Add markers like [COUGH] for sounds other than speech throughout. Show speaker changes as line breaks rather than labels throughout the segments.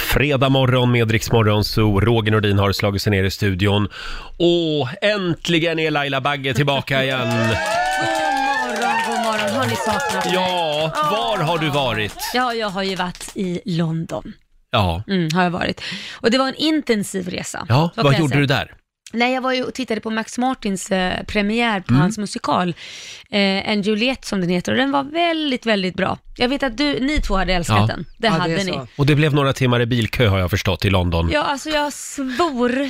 Fredag morgon med Rix Morgon, så Roger Nordin har slagit sig ner i studion. Åh, äntligen är Laila Bagge tillbaka igen!
morgon, god morgon. Har ni saknat mig?
Ja, var har du varit?
Ja, jag har ju varit i London.
Ja,
Mm, har jag varit. Och det var en intensiv resa.
ja
Så kan
vad
jag
gjorde
säga.
du där?
Nej, jag var ju och tittade på Max Martins eh, premiär
Mm.
på hans musikal, eh, En Juliet som den heter, och den var väldigt, väldigt bra. Jag vet att du, ni två hade älskat
Ja.
den. Det
Ja, det
hade
är
ni.
så.
Och det blev några timmar i bilkö har jag förstått i London.
Ja, alltså jag svor eh,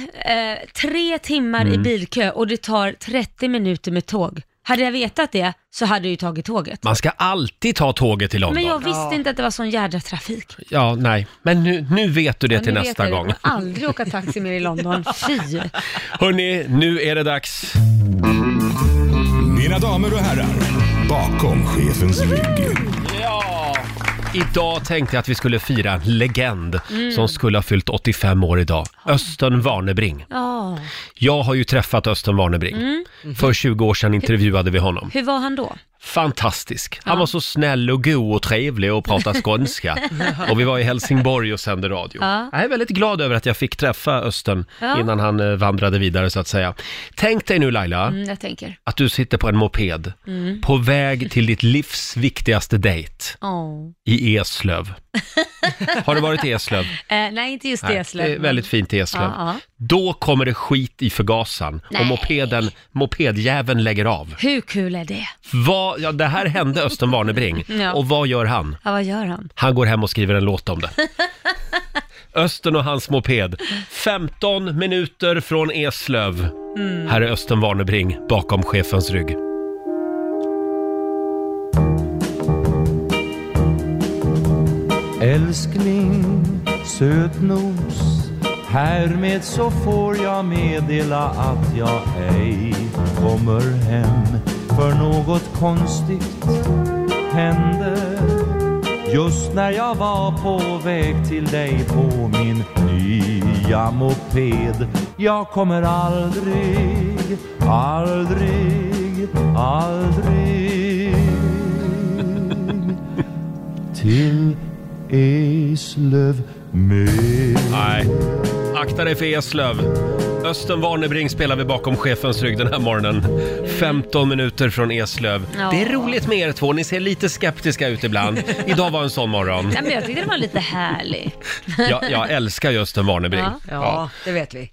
tre timmar
Mm.
i bilkö och det tar 30 minuter med tåg. Hade jag vetat det så hade jag ju tagit tåget.
Man ska alltid ta tåget i
Men
London.
jag visste
Ja.
inte att det var sån jädra trafik.
Ja, nej. Men nu, nu vet du det
Ja,
till
nu
nästa
vet
[LAUGHS]
jag det.
gång.
Jag kommer aldrig åka taxi mer
[LAUGHS]
i London. Fy!
Hörni, nu är det dags.
Mina damer och herrar, bakom chefens rygg.
Ja! Idag tänkte jag att vi skulle fira en legend
Mm.
som skulle ha fyllt 85 år idag. Östen Warnerbring.
Ja,
Jag har ju träffat Östen Warnerbring.
Mm.
Mm-hmm. För 20 år sedan intervjuade vi honom.
hur var han då?
Fantastisk. Han var så snäll och god och trevlig och pratade
[LAUGHS]
skånska. och vi var i Helsingborg och sände radio.
Ja.
Jag är väldigt glad över att jag fick träffa Östen
Ja.
innan han eh, vandrade vidare så att säga. Tänk dig nu Laila,
Mm, jag tänker.
att du sitter på en moped på väg till ditt livs viktigaste dejt
Oh.
i
[LAUGHS]
Eslöv. Har du varit i Eslöv?
Eh, nej, inte just
Nej,
det, Eslöv.
Det är väldigt fint i Eslöv.
Ja, ja.
Då kommer det skit i förgasaren och
Nej.
mopeden, mopedjäveln lägger av.
Hur kul är det?
Vad, ja, det här hände Östen Warnerbring.
[LAUGHS] Ja.
Och vad gör han?
Ja, vad gör han?
Han går hem och skriver en låt om
[LAUGHS]
det. Östen och hans moped. 15 minuter från Eslöv.
Mm.
Här är Östen Warnerbring bakom chefens rygg.
Älskling, sötnos Härmed så får jag meddela att jag ej kommer hem För något konstigt hände Just när jag var på väg till dig på min nya moped Jag kommer aldrig, aldrig, aldrig till Eslöv med.
Nej, akta dig för Eslöv. Östen Warnerbring spelar vi bakom chefens rygg den här morgonen. 15 minuter från Eslöv.
Ja.
Det är roligt med er två, ni ser lite skeptiska ut ibland. Idag var en sån morgon.
Nej, men jag tyckte den var lite härlig.
Jag, jag älskar ju Östen Warnerbring.
Ja.
Ja, det vet vi.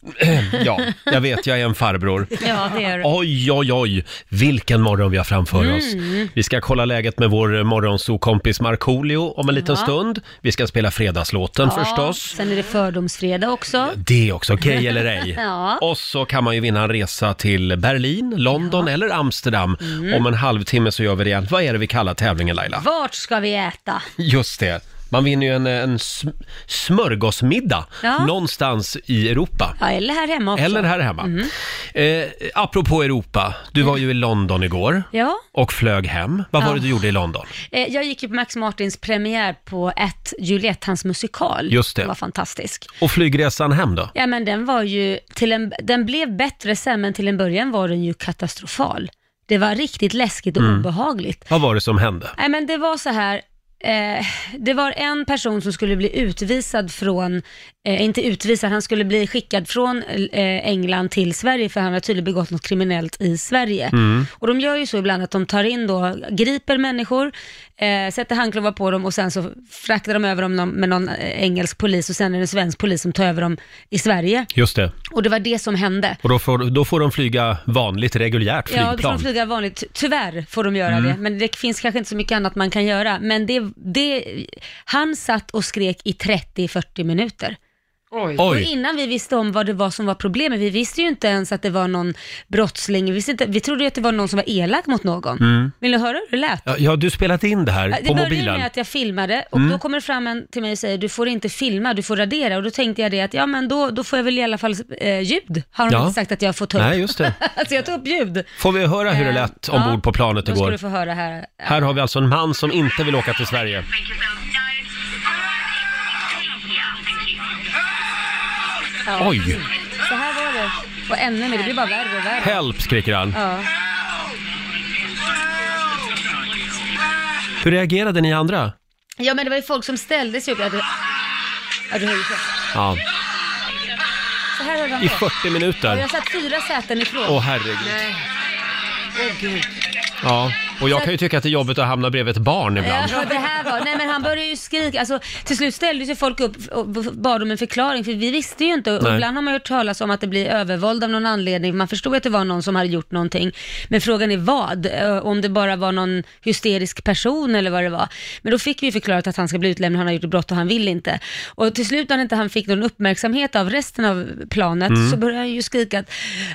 Ja, jag vet, jag är en farbror.
Ja, det gör
Oj, oj, oj, vilken morgon vi har framför oss.
Mm.
Vi ska kolla läget med vår eh, morgonsokompis Markoolio om en liten stund. Vi ska spela fredagslåten förstås.
Sen är det fördomsfredag också.
Det också, gay eller ej.
[LAUGHS] Ja.
Och så kan man ju vinna en resa till Berlin, London eller Amsterdam.
Mm.
Om en halvtimme så gör vi det igen. Vad är det vi kallar tävlingen Laila?
Vart ska vi äta?
Just det. Man vinner ju en, en sm- smörgåsmiddag
Ja.
någonstans i Europa.
Ja, Mm. eller här hemma också.
Eller här hemma. Eh, apropå Europa, du var ju i London igår
Mm. Ja,
och flög hem. Vad var det du gjorde i London?
eh, jag gick ju på Max Martins premiär på ett Juliette, hans musikal.
Just det.
Den var fantastisk.
Och flygresan hem då?
Ja men den var ju, till en, den blev bättre sen men till en början var den ju katastrofal. Det var riktigt läskigt och obehagligt.
Vad var det som hände?
Nej men det var så här, eh, det var en person som skulle bli utvisad från, eh, inte utvisad, han skulle bli skickad från eh, England till Sverige för han har tydligen begått något kriminellt i Sverige. Och de gör ju så ibland att de tar in då, griper människor, eh, sätter handklovar på dem och sen så fraktar de över dem någon- med någon eh, engelsk polis och sen är det en svensk polis som tar över dem i Sverige.
Just det.
Och det var det som hände.
Och då får, då får de flyga vanligt, reguljärt
Ja, då får de
flygplan. Mm.
flyga vanligt. Ty- Tyvärr får de göra det, men det finns kanske inte så mycket annat man kan göra. Men det, det, han satt och skrek i 30-40 minuter. Och
Oj,
innan vi visste om vad det var som var problemet, vi visste ju inte ens att det var någon brottsling, vi, visste inte, vi trodde ju att det var någon som var elak mot någon. Vill du höra hur det lät?
ja, Mm. ja, du spelat in det här
Det
på
började
mobilen. Mm.
med att jag filmade och då kommer det fram en till mig och säger du får inte filma, du får radera. Och då tänkte jag det att ja men då, då får jag väl i alla fall eh, ljud. Har de
Ja.
inte sagt att jag får ta upp?
Nej, just
[LAUGHS]
det.
Alltså jag tog upp ljud.
Får vi höra hur det lät
Eh, ja,
ombord på planet
Då ska
igår?
du få höra här.
Här har vi alltså en man som inte vill åka till Sverige. Oj,
Så här var det. Och ännu mer, det blir bara värre och värre.
help skriker han.
Ja.
Hur reagerade ni andra?
ja men det var ju folk som ställde sig upp. Jag hade... Ja, du hör ju själv.
Ja,
Så här höll
i
han på.
40
Ja, jag
minuter.
satt fyra säten ifrån.
Åh herregud.
Nej. Åh, gud.
Ja, och jag kan ju tycka att det är jobbigt att hamna bredvid ett barn ibland.
Ja, det här var, nej men han började ju skrika. Alltså, till slut ställde sig folk upp och bad om en förklaring, för vi visste ju inte. Och
Nej.
ibland har man ju hört talas om att det blir övervåld av någon anledning. Man förstod att det var någon som hade gjort någonting. Men frågan är vad? Eh, Om det bara var någon hysterisk person eller vad det var. Men då fick vi ju förklarat att han ska bli utlämnad, han har gjort ett brott och han vill inte. Och till slut när inte han fick någon uppmärksamhet av resten av planet
Mm.
så började han ju skrika att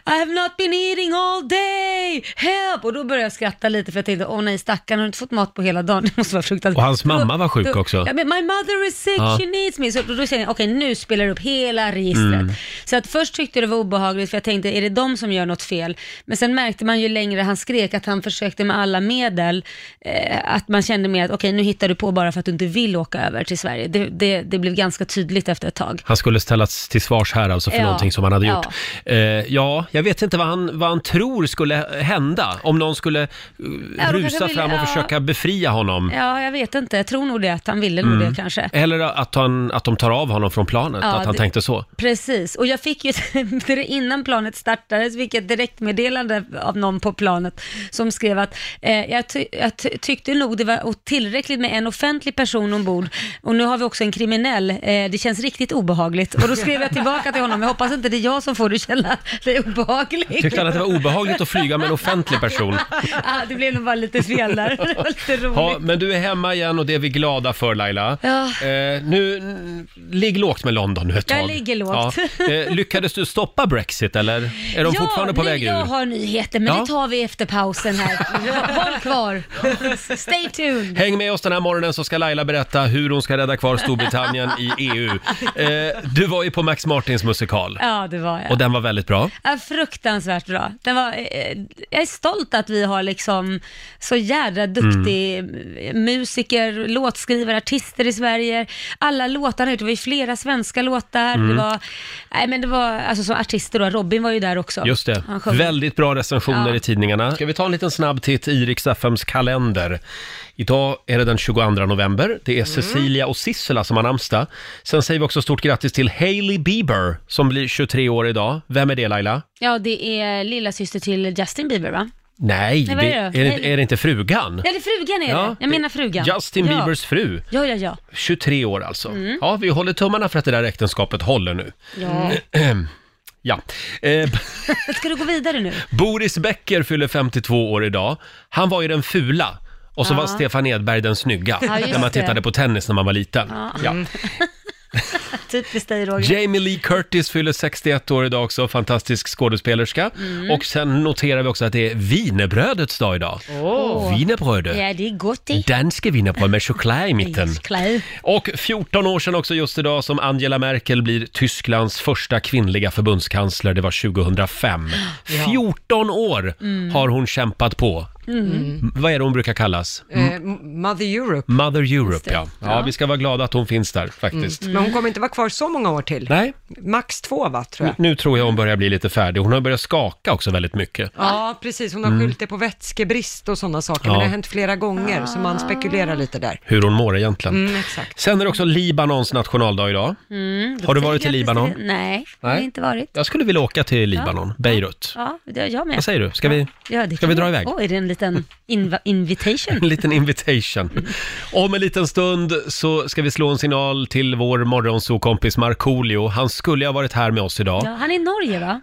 I have not been eating all day, help! Och då började jag skratta lite för jag tänkte, åh nej stackarn, har du inte fått mat på hela dagen? [LAUGHS] Det måste vara fruktansvärt.
Och hans
Då-
mamma var sjuk
då-
också.
Ja, men my mother is sick,
Ja.
she needs me. Så då, då känner jag, okej nu spelar det upp hela registret. Så att först tyckte jag det var obehagligt för jag tänkte, är det de som gör något fel? Men sen märkte man ju längre han skrek att han försökte med alla medel, eh, att man kände mer att okej nu hittar du på bara för att du inte vill åka över till Sverige. Det, det, det blev ganska tydligt efter ett tag.
Han skulle ställas till svars här alltså för
Ja.
någonting som han hade
Ja.
gjort. Eh, ja, jag vet inte vad han, vad han tror skulle hända om någon skulle eh,
kanske
rusa
vill-
fram och
ja.
försöka befria honom.
Ja, jag vet inte. Jag tror nog det, att han ville nog det kanske.
Eller att, han, att de tar av honom från planet,
Ja,
att han
det-
tänkte så.
Precis, och jag fick ju [LAUGHS] ett- innan planet startades, fick jag ett direktmeddelande av någon på planet som skrev att eh, jag, ty- jag ty- tyckte nog det var o- tillräckligt med en offentlig person ombord och nu har vi också en kriminell, eh, det känns riktigt obehagligt. Och då skrev jag tillbaka till honom, jag hoppas inte det är jag som får dig känna dig obehaglig. [LAUGHS]
Tyckte han att det var obehagligt att flyga med en offentlig person?
ah, det blev nog bara lite fel där, [LAUGHS] det var lite roligt.
Ja, men du är hemma igen och det är vi glada för Laila.
Ja.
Eh, nu, n- ligg lågt med London nu ett tag.
Jag ligger lågt.
Eh, lyckades du stoppa Brexit eller är de fortfarande på
nu
väg ur?
jag har nyheter, men
Ja.
det tar vi efter
[LAUGHS]
pausen här. Håll kvar. Stay tuned.
Häng med oss den här morgonen så ska Laila berätta hur hon ska rädda kvar Storbritannien i EU. Eh, du var ju på Max Martins musikal
Ja, det var jag.
och den var väldigt bra.
Ja, fruktansvärt bra. Den var, eh, jag är stolt att vi har liksom så jädra duktig eh,
Mm.
musiker, låtskrivare, artister i Sverige. Alla låtarna, det var ju flera svenska låtar.
Mm.
Det var, nej men det var, alltså som artister då, Robin var ju där också.
Just det.
Han sjöng.
Väldigt bra recensioner
Ja.
i tidningarna. Ska vi ta en liten snabb titt i Rix FMs kalender? Idag är det den 22 november. Det är Cecilia och Sissela som har namnsdag. Sen säger vi också stort grattis till Hailey Bieber som blir 23 år idag. Vem är det Laila?
Ja, det är lilla syster till Justin Bieber va?
Nej,
Nej, vad
det,
är det?
är, det,
Hailey.
är det inte frugan?
Ja, det är frugan är det. Jag menar frugan.
Justin
ja.
Biebers fru.
Ja, ja, ja.
23 år alltså. Ja, vi håller tummarna för att det där äktenskapet håller nu.
ja.
[CLEARS THROAT] Ja. Eh,
Ska du gå vidare nu?
Boris Becker fyller 52 år idag. Han var ju den fula. Och så var Stefan Edberg den snygga,
Ja, just
när man
det.
tittade på tennis när man var liten. Ja.
Typiskt dig Roger.
Jamie Lee Curtis fyller 61 år idag också, fantastisk skådespelerska.
Mm.
Och sen noterar vi också att det är wienerbrödets dag idag. Oh. Wienerbrödet.
Ja, det är gott det.
Danske wienerbröd med choklad i mitten.
Klä.
Och 14 år sedan också just idag som Angela Merkel blir Tysklands första kvinnliga förbundskansler. Det var
[GASPS]
2005. 14 år
Mm.
har hon kämpat på. M- Vad är det hon brukar kallas?
Eh, Mother Europe.
Mother Europe,
det. Mm.
ja. ja. vi ska vara glada att hon finns där faktiskt.
Men hon kommer inte vara kvar så många år till.
Nej,
Max två, va, tror jag.
nu tror jag hon börjar bli lite färdig. Hon har börjat skaka också väldigt mycket.
Ja, precis. Hon har skyllt det på vätskebrist och sådana saker,
Ja.
men det har hänt flera gånger, så
Ah.
man spekulerar lite där.
Hur hon mår egentligen.
Mm, exakt.
Sen är det också Libanons nationaldag idag.
Mm,
Har du varit i Libanon?
Nej, det har
Nej.
jag inte varit.
Jag skulle vilja åka till Libanon, Beirut.
Ja, det jag med.
Vad säger du? Ska vi...
Ja, det
Ska vi
kan
dra
jag.
iväg?
Åh, är det en liten inv- invitation?
En liten invitation. Om en liten stund så ska vi slå en signal till vår morgonsokompis Markoolio. Han skulle ha varit här med oss idag.
Ja, Mm. han är i Norge va?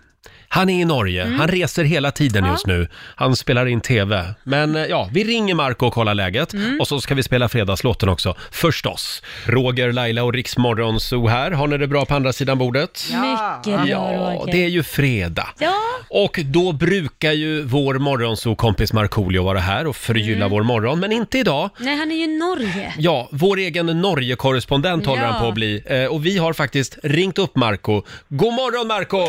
Han är i Norge. Han reser hela tiden just nu. Han spelar in TV. Men eh, ja, vi ringer Marco och kollar läget.
Mm.
Och så ska vi spela fredagslåten också, förstås. Roger, Laila och Riksmorgonso här. Har ni det bra på andra sidan bordet?
Mycket bra
Ja,
Roger.
det är ju fredag.
Ja.
Och då brukar ju vår morgonsokompis Markoolio vara här och förgylla
Mm.
vår morgon, men inte idag.
Nej, han är ju i Norge.
Ja, vår egen Norge-korrespondent håller
Ja.
han på att bli. Eh, och vi har faktiskt ringt upp Marco. God morgon Marco!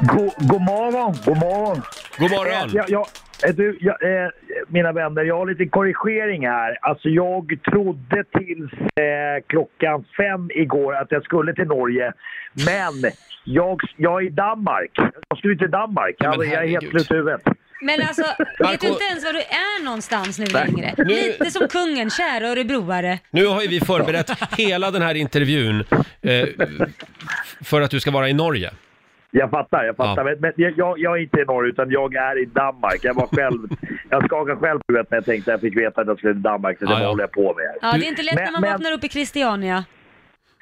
God, god morgon, god morgon.
God
Eh,
morgon!
jag, jag, eh, du, jag, eh, mina vänner, jag har lite korrigering här. Alltså jag trodde tills eh, klockan fem igår att jag skulle till Norge. Men jag, jag är i Danmark. Jag skulle till Danmark.
Ja,
Jag,
men
jag är helt
herregud.
slut i huvudet.
Men alltså,
[LAUGHS]
vet
Marco-
du inte ens var du är någonstans nu
Nej.
längre?
Nu-
Lite som kungen, kära örebroare.
Nu har ju vi förberett hela den här intervjun eh, för att du ska vara i Norge.
Jag fattar, jag fattar.
Ja.
Men- Men jag, jag, jag är inte i norr, utan jag är i Danmark. Jag var själv... jag skakade själv på huvudet när jag tänkte att jag fick veta att jag skulle till Danmark, så det
Ja, ja.
håller jag på med.
Ja,
Du-
det är inte lätt
Men-
när man
men-
vaknar upp i Christiania.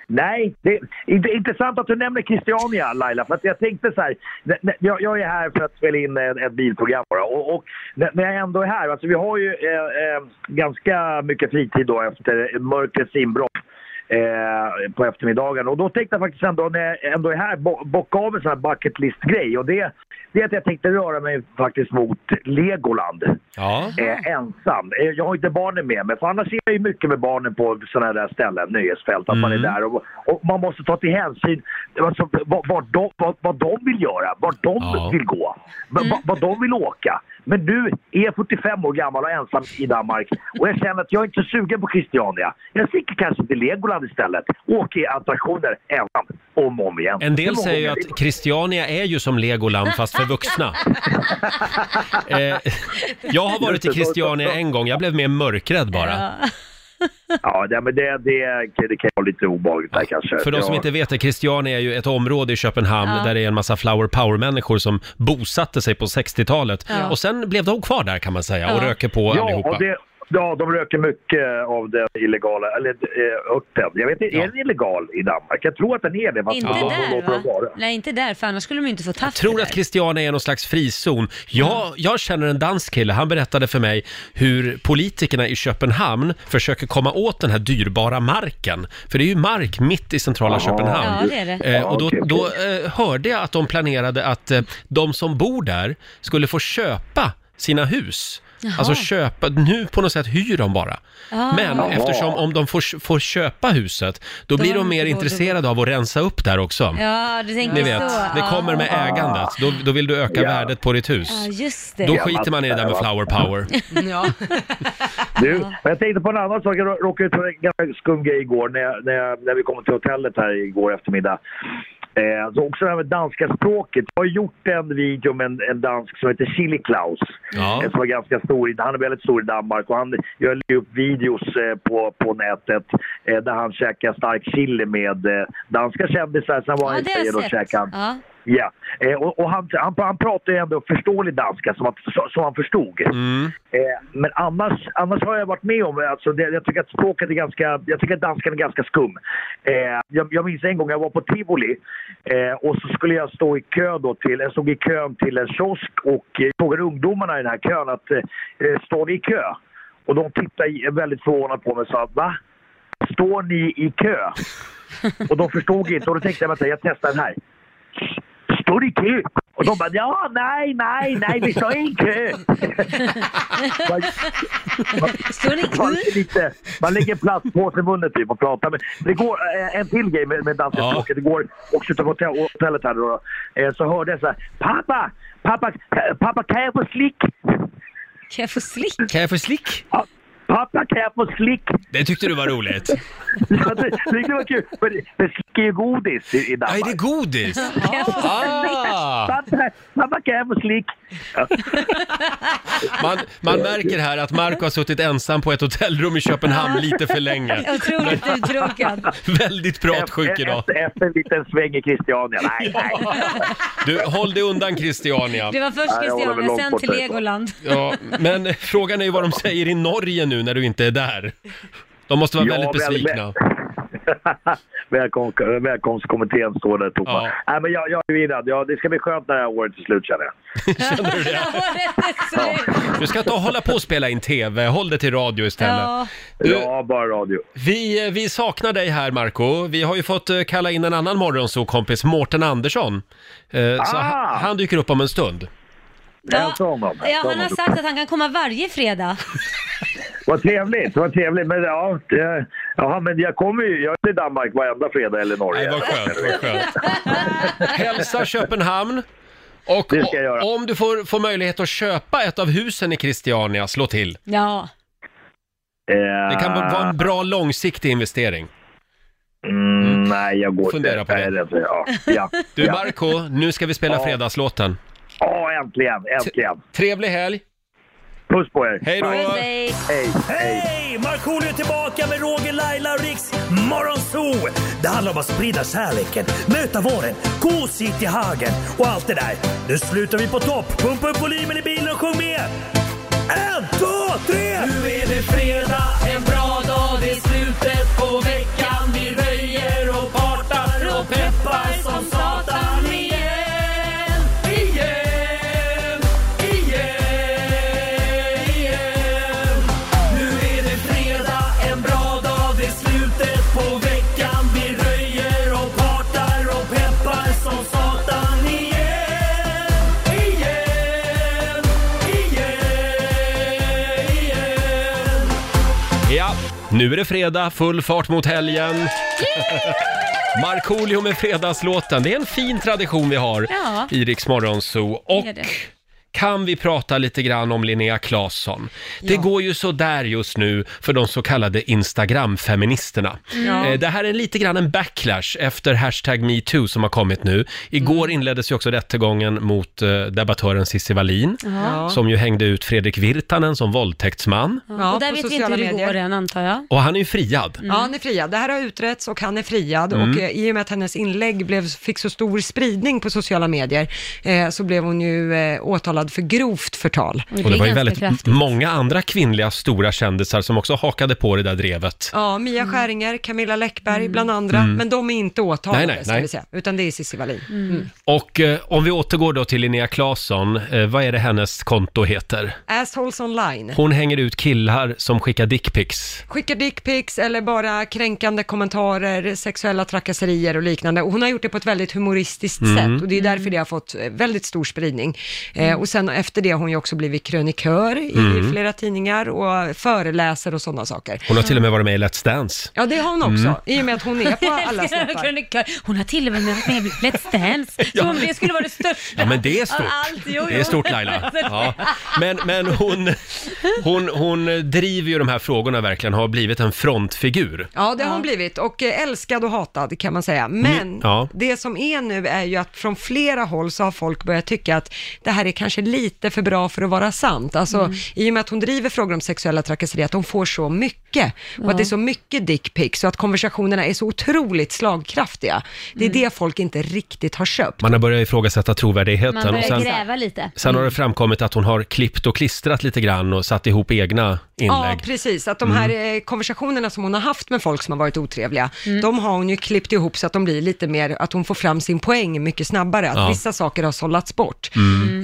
Nej, det är inte- intressant att du nämner Christiania Laila, för att jag tänkte så här. när- när- Jag, jag är här för att spela in ett, ett bilprogram bara och, och när när jag ändå är här, alltså vi har ju eh, eh, ganska mycket fritid då efter mörkrets inbrott eh, på eftermiddagen och då tänkte jag faktiskt ändå när jag ändå är här bo- bocka av en sån här bucket list-grej och det, det är att jag tänkte röra mig faktiskt mot Legoland
Ja.
eh, ensam. Eh, Jag har inte barnen med mig, för annars är jag ju mycket med barnen på sådana där ställen, nöjesfält, att man är där. Och, och man måste ta till hänsyn alltså, vad, vad, de, vad, vad de vill göra, vart de
Ja.
vill gå, vad, vad, vad de vill åka. Men du är 45 år gammal och ensam i Danmark och jag känner att jag är inte sugen på Christiania. Jag sticker kanske till Legoland istället och åker i attraktioner ensam om och om igen.
En
Hur
del
många
säger ju
gånger vill
att Christiania är ju som Legoland fast för vuxna. Eh, jag har varit i Christiania en gång, jag blev mer mörkrädd bara.
Ja.
Ja, det, men det, det, det kan vara lite obehagligt där kanske.
För de som
Ja.
inte vet det, Christiania är ju ett område i Köpenhamn
Ja.
där det är en massa flower power-människor som bosatte sig på 60-talet.
Ja.
Och sen blev de kvar där kan man säga och
Ja.
röker på allihopa.
och det, ja, de röker mycket av den illegala, eller eh, örten. Jag vet inte,
Ja.
är den illegal i Danmark? Jag tror att den är det. fast
Inte
de- de
där
låter dem vara.
va? Nej, inte där, för annars skulle de ju inte få taft
tror
det
att
där.
Christiania är någon slags frizon. Jag, jag känner en dansk kille, han berättade för mig hur politikerna i Köpenhamn försöker komma åt den här dyrbara marken. För det är ju mark mitt i centrala Köpenhamn.
Ja, det är det.
Eh, och då,
Ja, okej, okej.
då eh, hörde jag att de planerade att eh, de som bor där skulle få köpa sina hus.
Jaha.
Alltså köpa, nu på något sätt hyr de bara.
Ah.
Men
Jaha.
eftersom om de får, får köpa huset, då blir
har
de
de
mer
inte råd att bo.
intresserade av att rensa upp där också.
Ja, du tänker
Ni vet,
så.
det
ja.
kommer med ägandet. Då, då vill du öka
Ja.
värdet på ditt hus.
Ja, just det.
Då skiter man i det där med flower
[LAUGHS]
power.
Mm, Ja.
Du, men jag tänkte på en annan sak. Jag råkade ut för en ganska skum grej igår när, jag, när, jag, när vi kom till hotellet här igår eftermiddag. Eh, så också det här med danska språket. Jag har gjort en video med en, en dansk som heter Chili Klaus.
Ja.
eh, Som är ganska stor. i- Han är väldigt stor i Danmark och han gör ju upp videos eh, på, på nätet eh, där han käkar stark chili med eh, danska kändisar. Sen var
Ja,
han i
det har
Sverige och
jag sett.
käkade han
Ja.
Ja, eh, och, och han, han, han pratar ju ändå förståelig danska som, att- så- som han förstod.
Mm.
Eh, men annars, annars har jag varit med om, alltså, det, jag tycker att språket är ganska, jag tycker att danskan är ganska skum. Eh, jag, jag minns en gång jag var på tivoli eh, och så skulle jag stå i kö då till, jag stod i kön till en kiosk och eh, frågade ungdomarna i den här kön att eh, står ni i kö? Och de tittade i- väldigt förvånat på mig och sa va? Står ni i kö? Och de förstod inte och då tänkte jag vänta jag testar den här. Står ni i kö? Och de bara ja, nej, nej, nej, vi står i kö. Man-
[LAUGHS] Står ni
man,
kul?
är lite, man lägger plastpåse i munnen typ och pratar. Men det går, eh, en till grej med, med danska
Ja.
språket. Det går också till hotell, hotellet här då. Eh, så hörde jag så här. Pappa! Pappa, eh, pappa kan jag få slick?
Kan jag få slick?
Kan jag få slick?
Pa- Pappa kan jag få slick?
Det tyckte du var
[LAUGHS]
roligt.
Ja, det, det var kul. Men, men slick är ju godis i, i
Aj,
Danmark.
det är
[LAUGHS]
godis!
Kan jag få...
Ah,
Pappa, pappa kan jag få slick?
man, man märker här att Marco har suttit ensam på ett hotellrum i Köpenhamn lite för länge.
Otroligt uttråkad.
Väldigt pratsjuk idag.
Efter, efter en liten sväng i Christiania. Nej, nej.
Du, håll dig undan Christiania.
Det var först
Nej, jag håller väl
Christiania,
långt
sen
bort
till
därifrån.
Legoland.
[LAUGHS]
Ja, men frågan är ju vad de säger i Norge nu när du inte är där. De måste vara
Ja,
väldigt
väl-
besvikna.
[LAUGHS] Välkom, välkomstkommittén står där tomma.
Ja.
Nej, men jag, jag är virrad. Ja, det ska bli skönt när det här året är slut känner jag.
Känner du
[LAUGHS]
det?
Året är slut.
Du ska inte hålla på och spela in TV, håll dig till radio istället.
Ja.
Du-
Ja, bara radio.
Vi, vi saknar dig här Marco. Vi har ju fått eh, kalla in en annan morgonsokompis, Mårten Andersson. Eh, Så
Ah!
han, han dyker upp om en stund.
Ja,
Jag tar honom. Jag
ja,
tar
han har
honom.
sagt att han kan komma varje fredag.
Vad trevligt, vad trevligt. Men ja, det, ja, men jag kommer ju, jag är i Danmark varenda fredag eller
Nej,
Norge.
vad skönt, vad skönt. Hälsa Köpenhamn. Och
Det ska jag göra.
om du får, får möjlighet att köpa ett av husen i Christiania, slå till.
Ja,
Eh,
Det kan vara en bra långsiktig investering.
mm, nej, jag går
Fundera
inte.
på det.
[LAUGHS]
Nej, är inte- Ja, ja,
Du
ja.
Marco, nu ska vi spela
Ja.
fredagslåten.
Ja, Äntligen, äntligen.
Trevlig helg!
Puss på er!
Hej då!
Puss, hej.
Hej, hej!
Hej! Markoolio är tillbaka med Roger, Laila och Riks Morgonzoo! Det handlar om att sprida kärleken, möta våren, gosigt i hagen och allt det där. Nu slutar vi på topp! Pumpa upp volymen i bilen och sjung med! En, två, tre! Nu är det fredag, en bra dag, det är slutet på veckan. Vi röjer och partar och peppar som satan igen, igen, igen, igen. Nu är det fredag, en bra dag, det är slutet på veckan. Vi röjer och partar och peppar som satan igen. Igen, igen, igen.
Ja, nu är det fredag, full fart mot helgen. Markoolio med fredagslåten. Det är en fin tradition vi har
Ja.
i Rix Morgonzoo. Och
Det är det.
kan vi prata lite grann om Linnea Claesson? Det går ju så där just nu för de så kallade Instagram-feministerna. Eh, Det här är lite grann en backlash efter hashtag metoo som har kommit nu. Igår
Mm.
inleddes ju också rättegången mot eh, debattören Cissi Wallin,
Ja.
som ju hängde ut Fredrik Virtanen som våldtäktsman.
Ja,
och där vet
på
vi inte
sociala
hur det
medier.
går Mm. än antar jag.
Och han är ju friad.
Ja, han är friad. Det här har utretts och han är friad. Och eh, i och med att hennes inlägg blev, fick så stor spridning på sociala medier eh, så blev hon ju eh, åtalad för grovt förtal.
det
Och det
är
var ju
ganska
väldigt
kraftigt.
många andra kvinnliga stora kändisar som också hakade på det där drevet.
Ja, Mia
Mm.
Skäringer, Camilla Läckberg bland andra, men de är inte åtalade
Nej, nej,
ska
nej.
vi säga, utan det är Cissi Wallin. Mm.
Och eh, om vi återgår då till Linnea Claesson, eh, vad är det hennes konto heter?
Assholes online.
Hon hänger ut killar som skickar dickpics.
Skicka dickpics eller bara kränkande kommentarer, sexuella trakasserier och liknande. Och hon har gjort det på ett väldigt humoristiskt
Mm.
sätt och det är därför det har fått eh, väldigt stor spridning.
Mm.
Eh, och sen efter det har hon ju också blivit krönikör i flera tidningar och föreläser och sådana saker.
Hon har till och med varit med i Let's Dance.
Ja, det har hon
Mm.
också, i och med att hon är
[LAUGHS]
[LAUGHS]
på alla snoppar.
Krönikör. Hon har till och med varit med i Let's
[LAUGHS]
Dance, som om det skulle vara det största.
Ja, men det är stort.
av Allt. Jo, jo.
Det är stort
[LAUGHS]
Laila. Ja. Men, men hon, hon, hon driver ju de här frågorna verkligen, har blivit en frontfigur.
Ja, det har hon blivit och eh, älskad och hatad kan man säga. Men
ja.
det som är nu är ju att från flera håll så har folk börjat tycka att det här är kanske lite för bra för att vara sant. Alltså i och med att hon driver frågor om sexuella trakasserier, att hon får så mycket och att det är så mycket dickpics och att konversationerna är så otroligt slagkraftiga. Det är det folk inte riktigt har köpt.
Man har börjat ifrågasätta
Man
trovärdigheten.
börjar
Och sen,
gräva lite.
sen har det framkommit att hon har klippt och klistrat lite grann och satt ihop egna
Ja,
inlägg. Mm.
precis. Att de här eh, konversationerna som hon har haft med folk som har varit otrevliga,
Mm.
de har hon ju klippt ihop så att de blir lite mer, att hon får fram sin poäng mycket snabbare. Att
Ja. Mm.
vissa saker har sållats bort.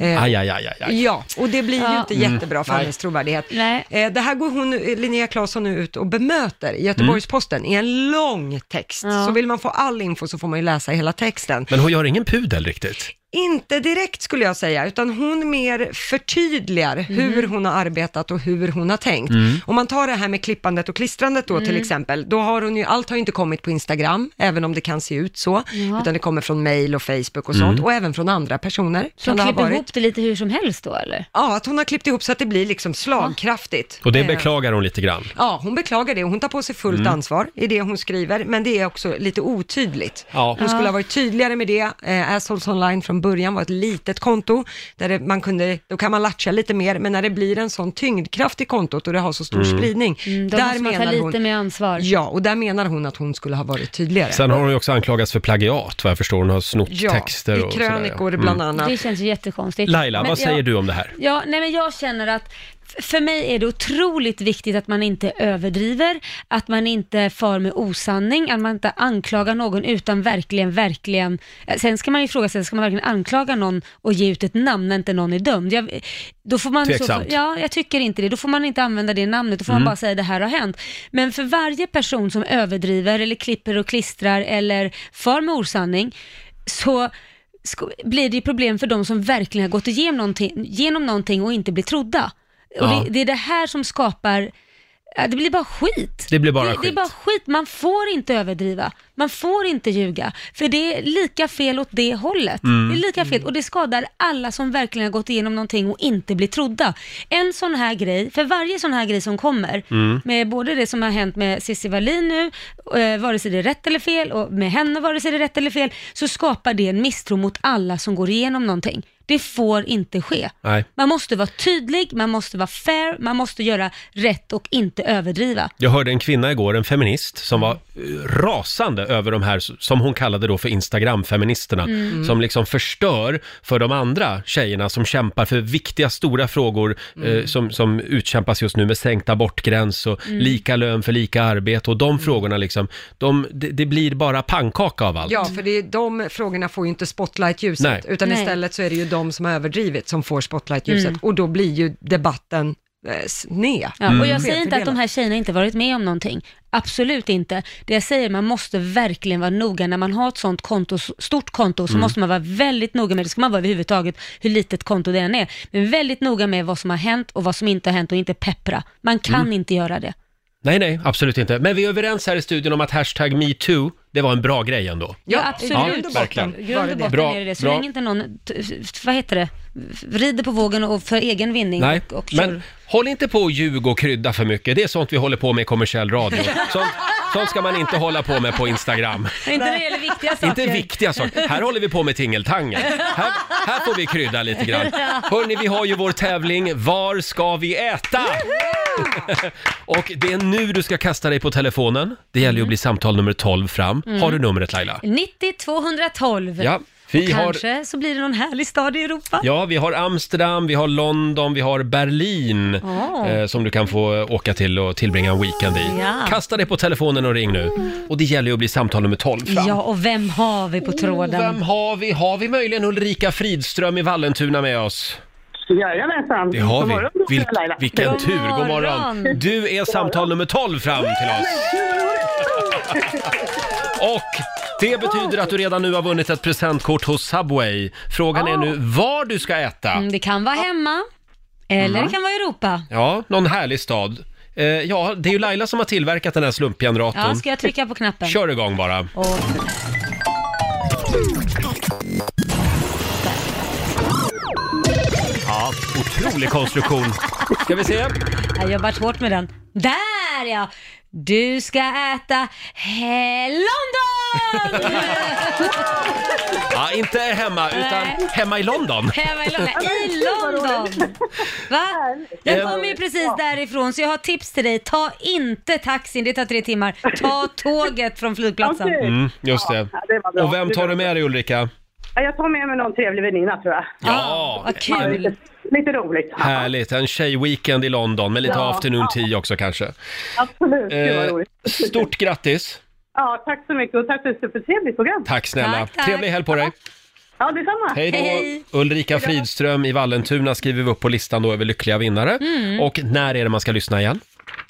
Eh,
Aj, aj, aj, aj, aj. Mm.
Ja, och det blir ju
Mm. Ja.
inte jättebra för hennes trovärdighet.
Nej.
Eh, det här går hon, Linnea Claesson nu ut och bemöter i Göteborgs-Posten i en lång text.
Ja.
Så vill man få all info så får man ju läsa hela texten.
Men hon gör ingen pudel riktigt.
Inte direkt skulle jag säga, utan hon mer förtydligar
Mhm.
hur hon har arbetat och hur hon har tänkt.
Mm.
Om man tar det här med klippandet och klistrandet då till exempel, då har hon ju, allt har ju inte kommit på Instagram, även om det kan se ut så, utan det kommer från mail och Facebook och sånt, och även från andra personer.
Så de
det ha
Mm. klipper
varit.
ihop det lite hur som helst då eller?
Ja, att hon har klippt ihop så att det blir liksom slagkraftigt.
Och det
Eh,
beklagar hon lite grann.
Ja, hon beklagar det och hon tar på sig fullt
Mm.
ansvar i det hon skriver, men det är också lite otydligt.
Ja.
Hon skulle ha varit tydligare med det. Eh, Assholes Online från början var ett litet konto, där det, man kunde, då kan man latcha lite mer, men när det blir en sån tyngdkraft i kontot och det har så stor spridning,
Mm, Då måste man ta lite mer ansvar.
Ja, och där menar hon att hon skulle ha varit tydligare.
Sen har hon ju också anklagats för plagiat vad jag förstår. Hon har snott
ja,
texter och
i
sådär, ja.
krönikor
Mm.
bland annat.
Det känns ju jättekonstigt.
Laila,
Men
vad säger
jag,
du om det här?
Ja, nej men jag känner att f- för mig är det otroligt viktigt att man inte överdriver, att man inte far med osanning, att man inte anklagar någon utan verkligen, verkligen. eh, Sen ska man ju fråga sig, ska man verkligen anklaga någon och ge ut ett namn när inte någon är dömd? Jag, då får man
Tveksamt.
Så, ja, jag tycker inte det. Då får man inte använda det namnet, då får man bara säga det här har hänt. Men för varje person som överdriver eller klipper och klistrar eller far med osanning, så sko- blir det ju problem för de som verkligen har gått igenom någonting, genom någonting och inte blir trodda. Och
Ja.
det, det är det här som skapar ja, det blir bara skit.
Det blir bara
det, Det är
skit.
bara skit. Man får inte överdriva. Man får inte ljuga. För det är lika fel åt det hållet.
Mm.
Det är lika fel och det skadar alla som verkligen har gått igenom någonting och inte blir trodda. En sån här grej, för varje sån här grej som kommer,
Mm.
med både det som har hänt med Cissi Wallin nu, eh, vare sig det är rätt eller fel, och med henne vare sig det är rätt eller fel, så skapar det en misstro mot alla som går igenom någonting. Det får inte ske.
Nej.
Man måste vara tydlig, man måste vara fair, man måste göra rätt och inte överdriva.
Jag hörde en kvinna igår, en feminist, som var eh, rasande över de här, som hon kallade då för Instagram-feministerna,
Mm.
som liksom förstör för de andra tjejerna som kämpar för viktiga, stora frågor eh, som, som utkämpas just nu med sänkt abortgräns och
Mm.
lika lön för lika arbete och de frågorna liksom, de, det, det blir bara pannkaka av allt.
Ja, för det är, de frågorna får ju inte spotlight-ljuset,
Nej.
utan
Nej.
istället så är det ju de som har överdrivit som får spotlight-ljuset,
Mm.
och då blir ju debatten eh, sned.
Ja,
Mm.
Och jag säger inte att de här tjejerna inte varit med om någonting. Absolut inte. Det jag säger, man måste verkligen vara noga. När man har ett sånt konto, stort konto så
Mm.
måste man vara väldigt noga med, det ska man vara överhuvudtaget, hur litet konto det än är. Men väldigt noga med vad som har hänt och vad som inte har hänt och inte peppra. Man kan
Mm.
inte göra det.
Nej, nej, absolut inte. Men vi är överens här i studion om att hashtag metoo, det var en bra grej ändå.
Ja, absolut.
Ja, verkligen.
I grund och botten är det det. Så
bra.
länge inte någon, t- f- vad heter det, rider på vågen och för egen vinning
Nej,
och, och
men håll inte på och ljuga och krydda för mycket. Det är sånt vi håller på med i kommersiell radio. Sånt, sånt ska man inte hålla på med på Instagram.
kör. Inte när det gäller viktiga saker.
Inte viktiga saker. Här håller vi på med tingeltangel. Här, här får vi krydda lite grann. Hörni, vi har ju vår tävling Var ska vi äta? Och det är nu du ska kasta dig på telefonen. Det gäller ju att bli samtal nummer 12 fram.
Mm.
Har du numret Laila?
90 212.
Ja, vi
och
har-
kanske så blir det någon härlig stad i Europa.
Ja, vi har Amsterdam, vi har London, vi har Berlin
Ja.
eh, som du kan få åka till och tillbringa en weekend i.
Ja.
Kasta dig på telefonen och ring nu. Och det gäller ju att bli samtal nummer 12 fram.
Ja, och vem har vi på tråden?
Oh, vem har vi? Har vi möjligen Ulrika Fridström i Vallentuna med oss?
Jajamensan.
Det har
God
vi.
morgon, Roger och
Vil-
Laila.
vilken tur, god morgon. Du är samtal nummer 12 fram till oss. Och det betyder att du redan nu har vunnit ett presentkort hos Subway. Frågan är nu var du ska äta.
Mm, det kan vara hemma,
Mm.
eller det kan vara Europa.
Ja, någon härlig stad. Eh, ja, det är ju Laila som har tillverkat den här slumpgeneratorn.
Ja, ska jag trycka på knappen?
Kör igång bara.
Och...
Ja, otrolig konstruktion. Ska vi se?
Jag har jobbat hårt med den. Där ja! Du ska äta he- London!
[LAUGHS] Ja, inte hemma, utan
Nej.
hemma i London.
Hemma i London. I London! Va? Jag kommer ju precis därifrån så jag har tips till dig. Ta inte taxin, det tar tre timmar. Ta tåget från flygplatsen.
Mm, just det.
Ja, det var bra.
Och vem tar du med dig Ulrika?
Ja, jag tar med mig någon trevlig väninna tror jag.
Ja,
vad kul.
Lite, [LAUGHS] lite roligt.
Härligt, en tjejweekend i London med lite
Ja,
afternoon tea också kanske.
Absolut, det var
Eh,
roligt.
Stort grattis!
Ja, tack så mycket och tack för ett supertrevligt program.
Tack snälla.
Tack, tack.
Trevlig helg på dig.
Ja, detsamma.
Hej då! Ulrika Fridström i Vallentuna skriver vi upp på listan då över lyckliga vinnare.
Mm.
Och när är det man ska lyssna igen?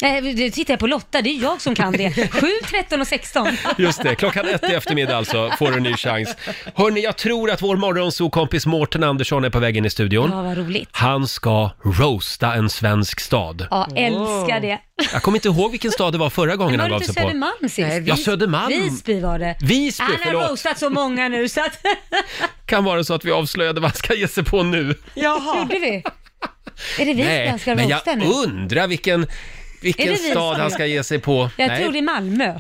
Nej, nu Eh, tittar jag på Lotta, det är jag som kan det. 7, 13 och 16.
Just det, klockan ett i eftermiddag alltså får du en ny chans. Hörni, jag tror att vår morgonsokompis Mårten Andersson är på väg in i studion.
Ja, vad roligt.
Han ska roasta en svensk stad.
Ja, älskar det.
Jag kommer inte ihåg vilken stad det var förra gången han
Var det
gav
inte
sig på.
Södermalm sist?
Ja, Södermalm.
Visby var det.
Visby,
Han
förlåt.
har roastat så många nu så [LAUGHS] att...
Kan vara så att vi avslöjade vad han ska ge sig på nu.
Jaha. Gjorde vi? Är det Visby han ska
men
roasta
jag
nu?
undrar vilken,
Är det
vilken
vi
stad
som-
han ska ge sig på.
Jag
Nej.
tror det är Malmö.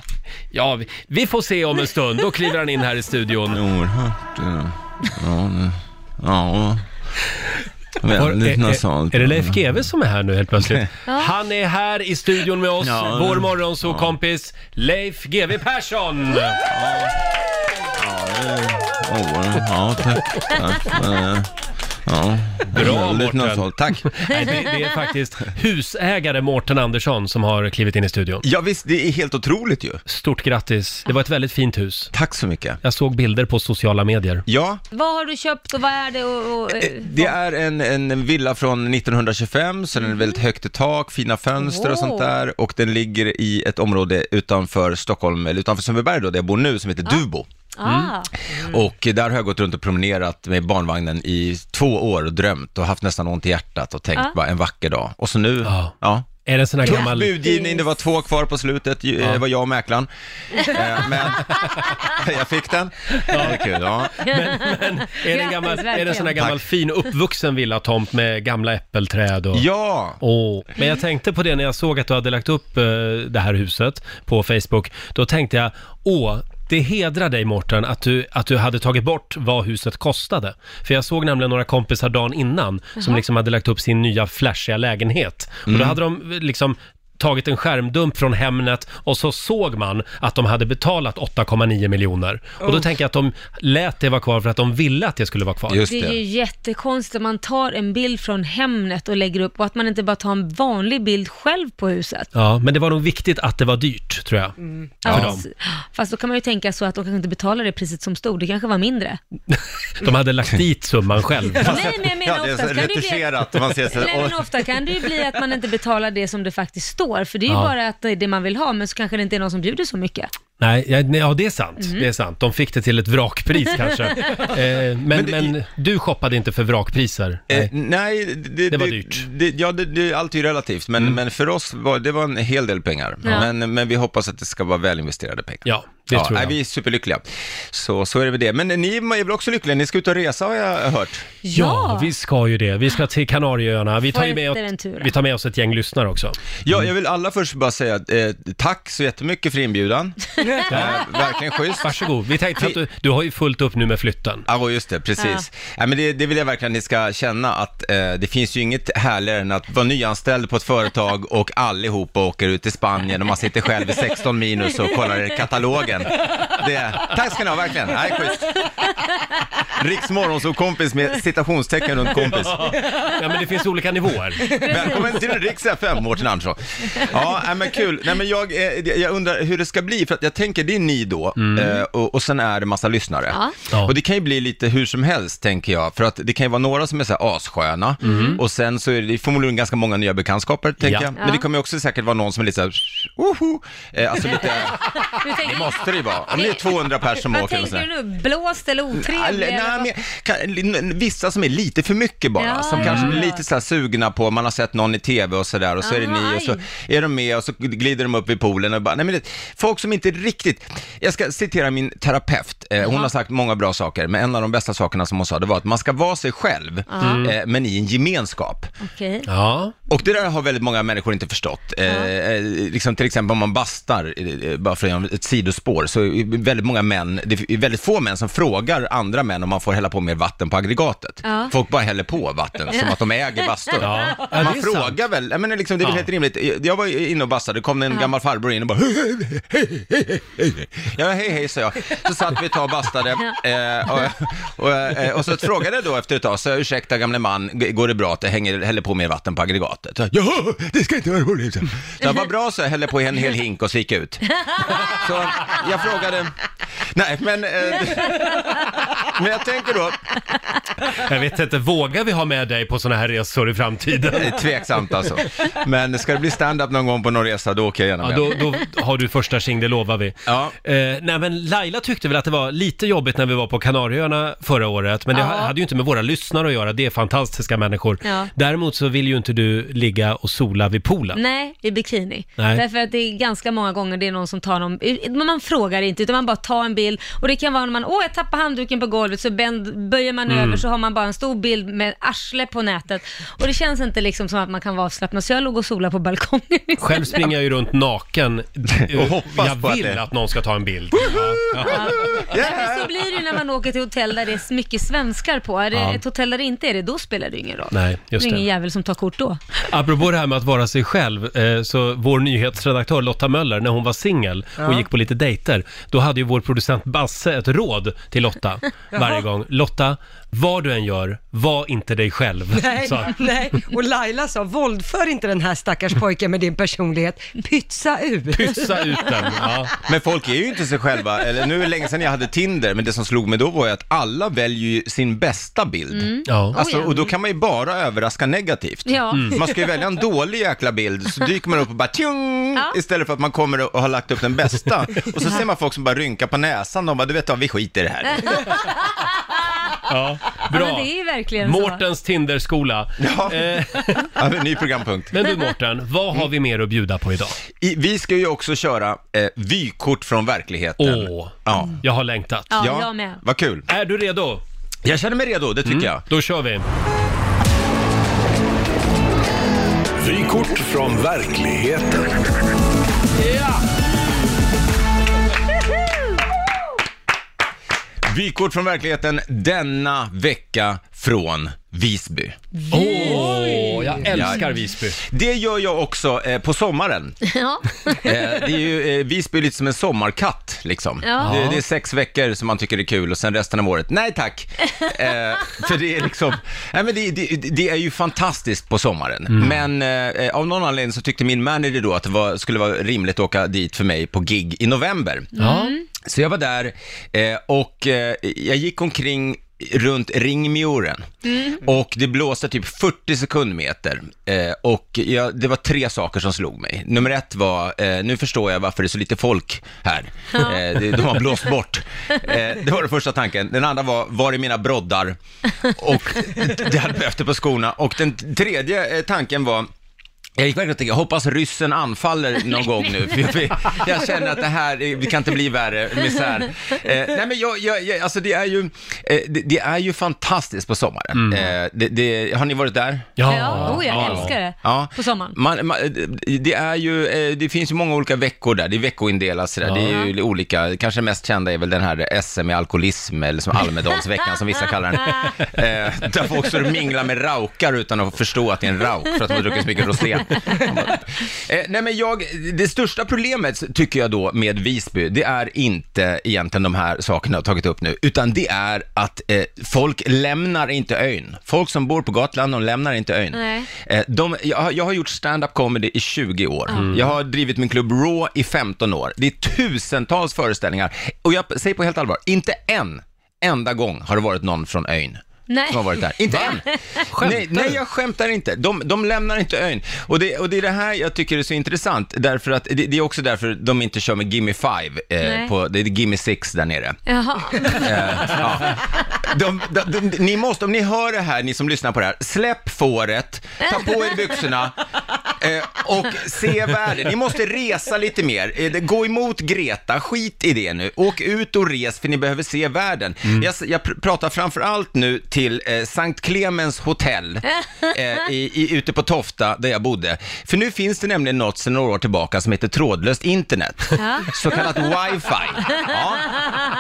Ja, vi, vi får se om en stund. Då kliver han in här i studion.
Oerhört... eh, Ja, det- ja. Väldigt
Var- är-
nasalt.
Är det Leif GW som är här nu helt plötsligt?
[LAUGHS] Ja.
Han är här i studion med oss,
Ja.
vår morgonsåkompis Leif GW Persson!
Oerhört- Ja, tack. tack. Eh, Ja.
Bra,
Väldigt
Mårten.
nasalt. Tack.
[LAUGHS] Nej, det, det är faktiskt husägare Mårten Andersson som har klivit in i studion.
Ja, visst, det är helt otroligt ju.
Stort grattis, det var ett väldigt fint hus.
Tack så mycket.
Jag såg bilder på sociala medier.
Ja,
Vad har du köpt och vad är det och... och eh,
det är en, en villa från 1925, så den är väldigt högt i tak, fina fönster och sånt där. Och den ligger i ett område utanför Stockholm, eller utanför Sundbyberg då, där jag bor nu, som heter Dubo. Mm,
ah.
Och där har jag gått runt och promenerat med barnvagnen i två år och drömt och haft nästan ont i hjärtat och tänkt
Ja.
bara en vacker dag. Och så nu, ja.
Är det en sån här
Tuff
gammal-
budgivning, det var två kvar på slutet, ju- det var jag och mäklaren. Eh, Men [LAUGHS] jag fick den. Ja. Det är kul, ja.
Men, men är det en, gammal, är det en sån här gammal
Tack.
fin uppvuxen villatomt med gamla äppelträd och...
Ja!
Åh, Men jag tänkte på det när jag såg att du hade lagt upp eh, det här huset på Facebook. Då tänkte jag, åh, Det hedrar dig Mårten att du, att du hade tagit bort vad huset kostade. För jag såg nämligen några kompisar dagen innan som
Jaha.
liksom hade lagt upp sin nya flashiga lägenhet. Och då
Mm.
hade de eh, liksom tagit en skärmdump från Hemnet och så såg man att de hade betalat 8,9 miljoner. Och då
Uff.
tänker jag att de lät det vara kvar för att de ville att det skulle vara kvar.
det. är ju jättekonstigt att man tar en bild från Hemnet och lägger upp och att man inte bara tar en vanlig bild själv på huset.
Ja, men det var nog viktigt att det var dyrt, tror jag. För dem.
Alltså, Fast då kan man ju tänka så att de kanske inte betalar det priset som stod, det kanske var mindre.
De hade lagt dit summan själv.
Nej, men jag menar
[LAUGHS] Ja, det är
oftast kan det ju bli...
retuscherat och man ser så här,
Nej, men
"Åh."
ofta kan det ju bli att man inte betalar det som det faktiskt står, för det är ju
Ja.
bara att det är det man vill ha, men så kanske det inte är någon som bjuder så mycket.
[LAUGHS] Nej, ja, nej, ja det är sant.
Mm.
Det är sant. De fick det till ett [LAUGHS] vrakpris kanske. eh, men, men, du shoppade inte för vrakpriser? Nej.
Eh, nej, det,
var Mm.
det- Det, ja, det, det, allt är ju relativt, men, men för oss var det var en hel del pengar.
Ja.
Men, men vi hoppas att det ska vara välinvesterade pengar.
Ja, det tror jag.
Nej, vi är superlyckliga. Så, så är det med det. Men ni är väl också lyckliga? Ni ska ut och resa har jag hört.
Ja, vi ska ju det. Vi ska till Kanarieöarna. Vi tar, ju med,
Fuerteventura.
vi tar med oss ett gäng lyssnare också.
Ja, jag vill alla först bara säga eh, tack så jättemycket för inbjudan.
[LAUGHS]
Eh, verkligen schysst.
Varsågod. Vi tänkte att du, du har ju fullt upp nu med flytten.
Ja, just det, precis.
Ja.
Nej, men det, det vill jag verkligen att ni ska känna att eh, det finns ju inget härligare än att vara nyanställd på ett företag och allihopa åker ut till Spanien och man sitter själv i 16 minus och kollar katalogen. Det, tack ska ni ha, verkligen. Nej, schysst. Riks morgonsovkompis med citationstecken runt kompis.
Ja, men det finns olika nivåer.
Välkommen till Riks FM, Mårten Andersson. Ja, nej, men kul. Nej, men jag, eh, jag undrar hur det ska bli, för att jag tänker det är ni då, eh, och, och sen är det massa lyssnare.
Mm. Ja.
Och det kan ju bli lite hur som helst, tänker jag, för att det kan ju vara några som är så här assköna,
Mm.
och sen så är det förmodligen ganska många nya bekantskaper, tänker
Ja.
jag. Men
Ja.
det kommer ju också säkert vara någon som är lite så här, woho, eh, alltså lite,
Du
det
tänker,
måste det ju vara. Om det är 200 personer som
vad
åker och
tänker
sådär.
du nu? Blåst eller otrevlig?
Nej,
eller
nej,
vad?
men, kan, vissa som är lite för mycket bara,
Ja, Mm.
som
ja,
kanske blir
ja.
lite så här sugna på, man har sett någon i tv och sådär och så är det
Aha,
ni och så
aj.
är de med och så glider de upp i poolen och bara, nej men det, folk som inte riktigt, jag ska citera min terapeut, eh, hon
Ja.
har sagt många bra saker, men en av de bästa sakerna som hon sa, det var att man ska vara sig själv,
Ja. Mm.
eh, men i en gemenskap.
Okej.
Ja.
Och det där har väldigt många människor inte förstått. Eh, eh, liksom till exempel om man bastar, eh, bara för att göra ett sidospår, så är väldigt många män, det är väldigt få män som frågar andra män om man får hälla på mer vatten på aggregatet.
Ja.
Folk bara häller på vatten, som
Ja.
att de äger bastun.
Ja. Ja, det
Man
är
frågar väl, jag menar, liksom, det är väl
Ja.
helt rimligt. Jag var ju inne och bastade, det kom en
Ja.
gammal farbror in och bara hej, hej, hej, hej. Ja, hej, hej, sa jag. Så satt vi ett tag och bastade. Eh, och, och, eh, och så frågade jag då efter ett tag, så jag, ursäkta gamle man, g- går det bra att jag hänger, häller på mer vatten på aggregatet? Ja, det ska inte vara problem, så. så Vad bra, så jag hällde på en hel hink och så gick jag ut. Så jag frågade, nej men, eh, [LAUGHS] men jag tänker då,
Jag vet inte, vågar vi ha med dig på såna här resor i framtiden?
det är tveksamt alltså. Men ska det bli stand-up någon gång på någon resa, då åker jag gärna
Ja,
med.
då, då har du första tjing, det lovar vi.
Ja.
Eh, nej, men Laila tyckte väl att det var lite jobbigt när vi var på Kanarieöarna förra året, men det
Ja.
ha- hade ju inte med våra lyssnare att göra, det är fantastiska människor.
Ja. Mm.
Däremot så vill ju inte du ligga och sola vid poolen.
Nej, i bikini.
Nej.
Därför att det är ganska många gånger det är någon som tar någon, men man frågar inte utan man bara tar en bild och det kan vara när man, åh jag tappar handduken på golvet så bänd, böjer man
Mm.
över så har man bara en stor bild med arsle på nätet och det känns inte liksom som att man kan vara avslappnad så jag låg och solade på balkongen istället.
Själv springer jag ju runt naken
[LAUGHS] Och hoppas
jag
på att
vill
det-
att någon ska ta en bild. Ja.
Ja, men [LAUGHS] så blir det ju när man åker till hotell där det är mycket svenskar på. Är det
Ja.
ett hotell där det inte är det, då spelar det ju ingen roll.
Nej, just
det är ingen
det.
jävel som tar kort då.
Apropå det här med att vara sig själv, eh, så vår nyhetsredaktör Lotta Möller, när hon var singel och
Ja.
gick på lite dejter, då hade ju vår producent Basse ett råd till
[LAUGHS]
Lotta
Jaha.
varje gång. Lotta, vad du än gör, var inte dig själv. [LAUGHS]
Nej,
sa han.
nej, och Laila sa, våldför inte den här stackars pojken med din personlighet, pytsa ut.
Pytsa ut den, ja.
Men folk är ju inte sig själva, eller nu är det länge sedan jag hade Tinder, men det som slog mig då var ju att alla väljer ju sin bästa bild.
Mm.
Ja.
Alltså,
Oh, ja.
och då kan man ju bara överraska negativt.
Ja. Mm.
Man ska ju välja en dålig jäkla bild, så dyker man upp och bara tjong, istället för att man kommer och har lagt upp den bästa. Och så ser man folk som bara rynkar på näsan, och bara, du vet vad, vi skiter i det
[LAUGHS]
här.
Ja,
Ja, men
bra.
det är ju verkligen så.
Mårtens Tinderskola.
Ja.
Eh,
Ja, men ny programpunkt.
men du Mårten, vad har vi mer att bjuda på idag?
I, vi ska ju också köra eh, vykort från verkligheten.
Åh,
ja.
jag har längtat.
Ja, jag med.
Vad kul.
Är du redo?
Jag känner mig redo, det tycker jag.
Då kör vi.
Vykort från verkligheten.
Ja!
Vykort från verkligheten denna vecka från Visby.
Åh, jag älskar Visby.
Det gör jag också eh,
[LAUGHS]
på sommaren.
Ja.
Eh, det är ju, eh, Visby är lite som en sommarkatt liksom.
Ja.
Det, det är sex veckor som man tycker är kul och sen resten av året, nej tack.
[LAUGHS]
Eh, för det är liksom, nej men det, det, det är ju fantastiskt på sommaren. Men eh, av någon anledning så tyckte min manager då att det var, skulle vara rimligt att åka dit för mig på gig i november.
Ja.
Mm.
Så jag var där eh, och eh, jag gick omkring runt ringmuren och det blåste typ 40 sekundmeter eh, och jag, det var tre saker som slog mig. Nummer ett var, eh, nu förstår jag varför det är så lite folk här. Eh, det, de har blåst bort. Eh, det var den första tanken. Den andra var, var är mina broddar? Och det hade behövt det på skorna. Och den tredje eh, tanken var, jag gick verkligen och tänkte, jag hoppas ryssen anfaller någon gång nu, för jag, för jag känner att det här, eh, det kan inte bli värre misär. Eh, nej men jag, jag, jag, alltså det är ju, eh, det, det är ju fantastiskt på sommaren. Eh, det, det, har ni varit där?
Ja,
Ja, oh, jag älskar det.
Ja.
På sommaren.
Man, man, det, är ju, eh, det finns ju många olika veckor där, det är veckoindelat sådär. Det är ju olika, kanske mest kända är väl den här SM i alkoholism, eller som Almedalsveckan som vissa
[LAUGHS]
kallar den. Eh, där folk står och minglar med raukar utan att förstå att det är en rauk, för att de har druckit så
[LAUGHS]
mycket rosé. Eh, nej men jag, det största problemet tycker jag då med Visby, det är inte egentligen de här sakerna jag har tagit upp nu, utan det är att eh, folk lämnar inte ön. Folk som bor på Gotland, de lämnar inte ön.
Nej.
Eh, de, jag, har- jag har gjort stand-up comedy i 20 år.
Mm.
Jag har drivit min klubb Raw i 15 år. Det är tusentals föreställningar. Och jag säger på helt allvar, inte en enda gång har det varit någon från ön.
Nej.
Som har varit där. Inte än. Nej, nej, jag skämtar inte. De, de lämnar inte ön. Och det, och det är det här jag tycker är så intressant, därför att det, det är också därför de inte kör med Gimme Five, eh,
Nej.
på, det är Gimme Six där nere.
Jaha.
Eh, [LAUGHS] ja. de, de, de, ni måste, om ni hör det här, ni som lyssnar på det här, släpp fåret, ta på er byxorna eh, och se världen. Ni måste resa lite mer. Eh, det- Gå emot Greta, skit i det nu. Åk ut och res för ni behöver se världen. Jag, s- jag pr- pratar framför allt nu till eh, Sankt Clemens hotell eh, i, i, ute på Tofta där jag bodde. För nu finns det nämligen något sedan några år tillbaka som heter trådlöst internet, så kallat wifi. Ja.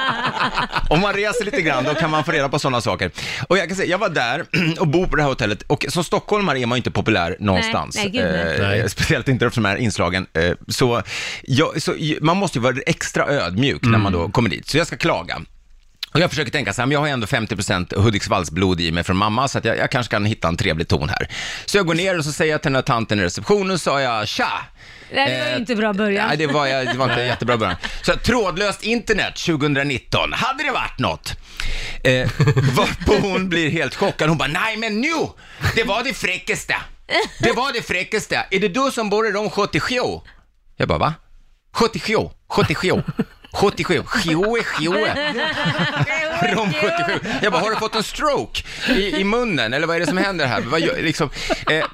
[LAUGHS] Om man reser lite grann, då kan man få reda på sådana saker. Och jag kan säga, jag var där [CLEARS THROAT] och bor på det här hotellet och som stockholmare är man ju inte populär någonstans.
nej, gud, nej.
Eh,
Nej.
Speciellt inte efter de här inslagen. Eh, Så, jag, så man måste ju vara extra ödmjuk när man då kommer dit. Så jag ska klaga. Och jag försöker tänka så här, men jag har ändå 50% Hudiksvallsblod i mig från mamma, så att jag, jag kanske kan hitta en trevlig ton här. Så jag går ner och så säger jag till den här tanten i receptionen, så sa jag tja,
[LAUGHS] Nej, det var ju
Eh,
inte bra början.
Nej, det var, jag- det
[LAUGHS]
var inte en jättebra början. Så här, trådlöst internet 2019, hade det varit något?
[LAUGHS]
Eh, varpå hon blir helt chockad. Hon bara, nej men nu, det var det fräckaste. Det var det fräckaste. Är det du som bor i de 77? Jag bara, va? 77, 77, 77, 77, 77. [LAUGHS] Rom 77. Jag bara, har du fått en stroke i, i munnen eller vad är det som händer här? Vad gör, liksom, eh,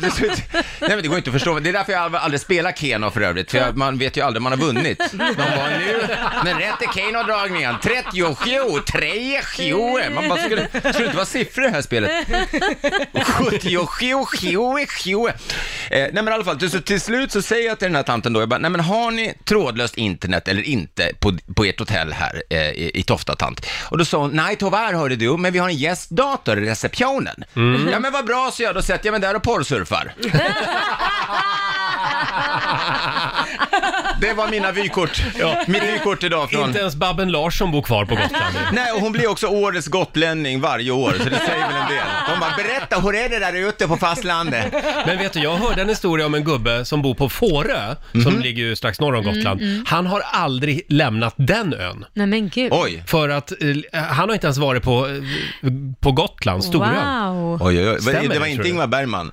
nej men det går inte att förstå. Det är därför jag aldrig, aldrig spelar Keno för övrigt, för jag, man vet ju aldrig om man har vunnit. Man bara, nu, men rätt är Keno-dragningen. 37, 37. Man bara, skulle, skulle det inte vara siffror i det här spelet? 77, 77. Eh, nej men i alla fall, så till slut så säger jag till den här tanten då, jag bara, nej men har ni trådlöst internet eller inte på, på ert hotell här eh, i, i Tofta tant? Och då sa hon, nej tyvärr hörde du, men vi har en gästdator i receptionen. Ja men vad bra, så jag, då sätter jag mig där och porrsurfar. Det var mina vykort,
Ja.
mitt vykort idag från...
Inte ens Babben Larsson bor kvar på Gotland.
Nej, och hon blir också årets gotlänning varje år, så det säger väl en del. De bara, berätta, hur är det där ute på fastlandet?
Men vet du, jag hörde en historia om en gubbe som bor på Fårö, som ligger ju strax norr om Gotland. Han har aldrig lämnat den ön.
Nej men gud.
Oj.
För att eh, han har inte ens varit på, eh, på Gotland, Storön.
Wow.
Oj, oj, oj.
Stämmer det,
det var
tror
inte
du?
Ingmar Bergman.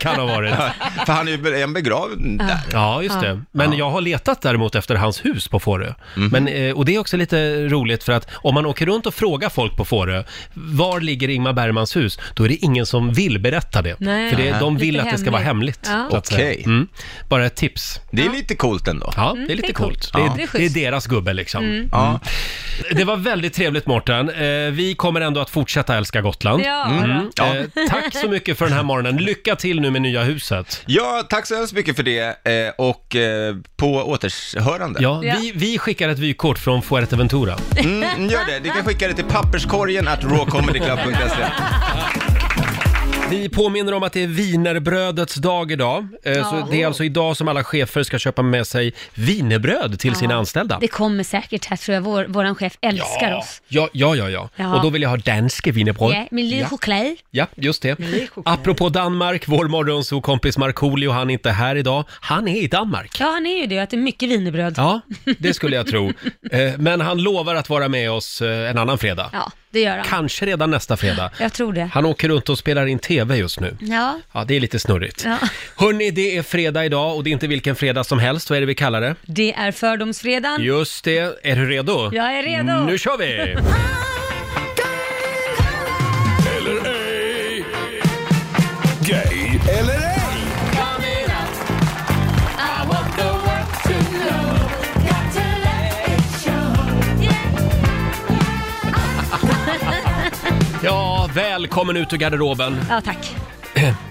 Kan ha varit.
För han är ju be- är han begravd där.
Ja, just det. Men jag har letat däremot efter hans hus på Fårö. Men, eh, och det är också lite roligt för att om man åker runt och frågar folk på Fårö, var ligger Ingmar Bergmans hus? Då är det ingen som vill berätta det.
Nej.
för det, de
Lite
vill att det ska vara hemligt.
hemligt. Ja.
så att säga.
Okej.
Mm. Bara ett tips.
Det är lite coolt ändå.
Ja, det är lite
det är
coolt.
coolt.
Det, är,
Ja. Det
det
är
är
Mm.
deras gubbe liksom.
Ja.
det var väldigt trevligt Mårten. Eh, vi kommer ändå att fortsätta älska Gotland.
Ja, då.
Eh, tack så mycket för den här morgonen. Lycka till nu med nya huset.
Ja, tack så hemskt mycket för det eh, och eh, på återhörande.
Ja, Vi, vi skickar ett vykort från Fuerteventura.
Mm, gör det. Du kan skicka det till papperskorgen at rawcomedyclub.se.
Vi påminner om att det är wienerbrödets dag idag. Eh, Så
Ja.
det är alltså idag som alla chefer ska köpa med sig wienerbröd till sina
Ja.
anställda.
Det kommer säkert här tror jag. Vår, våran chef älskar oss.
Ja, ja, ja, ja.
Ja.
Och då vill jag ha danske wienerbröd.
Ja, med lite choklad.
Ja, just det. Apropå Danmark, vår morgonsokompis Markoolio, han är inte här idag. Han är i Danmark.
Ja, han är ju det. Att det är mycket wienerbröd.
Ja, det skulle jag
[LAUGHS]
tro. Eh, Men han lovar att vara med oss eh, en annan fredag.
Ja, det gör han.
Kanske redan nästa fredag.
Jag tror det.
Han åker runt och spelar in TV just nu.
Ja.
Ja, det är lite snurrigt.
ja.
Hörni, det är fredag idag och det är inte vilken fredag som helst. Vad är det vi kallar det?
Det är fördomsfredagen.
Just det. Är du redo?
Mm. Jag är redo.
Nu kör vi!
Eller ej. Gay eller ej.
Ja, välkommen ut ur garderoben.
Ja, tack.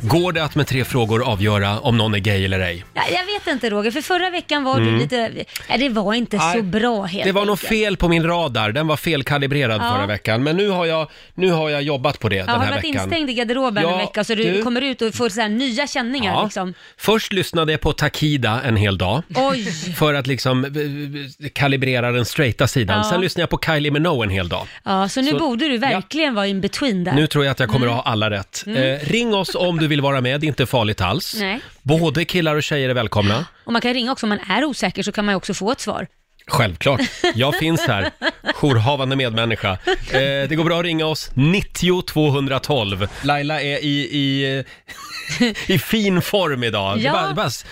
Går det att med tre frågor avgöra om någon är gay eller ej?
Ja, jag vet inte Roger, för förra veckan var
Mm.
du lite... Ja, det var inte
Nej,
så bra helt
Det var
enkelt.
något fel på min radar, den var felkalibrerad
Ja.
förra veckan. Men nu har jag, nu har jag jobbat på det
Ja,
den
har
här
varit
veckan.
instängd i garderoben
Ja,
en vecka så du,
du-
kommer ut och får så här nya känningar
Ja.
liksom.
Först lyssnade jag på Takida en hel dag.
Oj!
För att liksom eh, eh, kalibrera den straighta sidan.
Ja.
Sen lyssnade jag på Kylie Minogue en hel dag.
[LAUGHS] Ja, så nu
Så-
borde du verkligen vara in between där.
Nu tror jag att jag kommer att ha alla rätt.
Mm.
Eh, ring oss om du vill vara med, det är inte farligt alls.
Nej.
Både killar och tjejer är välkomna.
Och man kan ringa också om man är osäker så kan man ju också få ett svar.
Självklart, jag finns här. Jourhavande medmänniska. Eh, det går bra att ringa oss, 90 212. Laila är i, i, [LAUGHS] eh, i fin form idag. Det
Ja.
bara, bara s-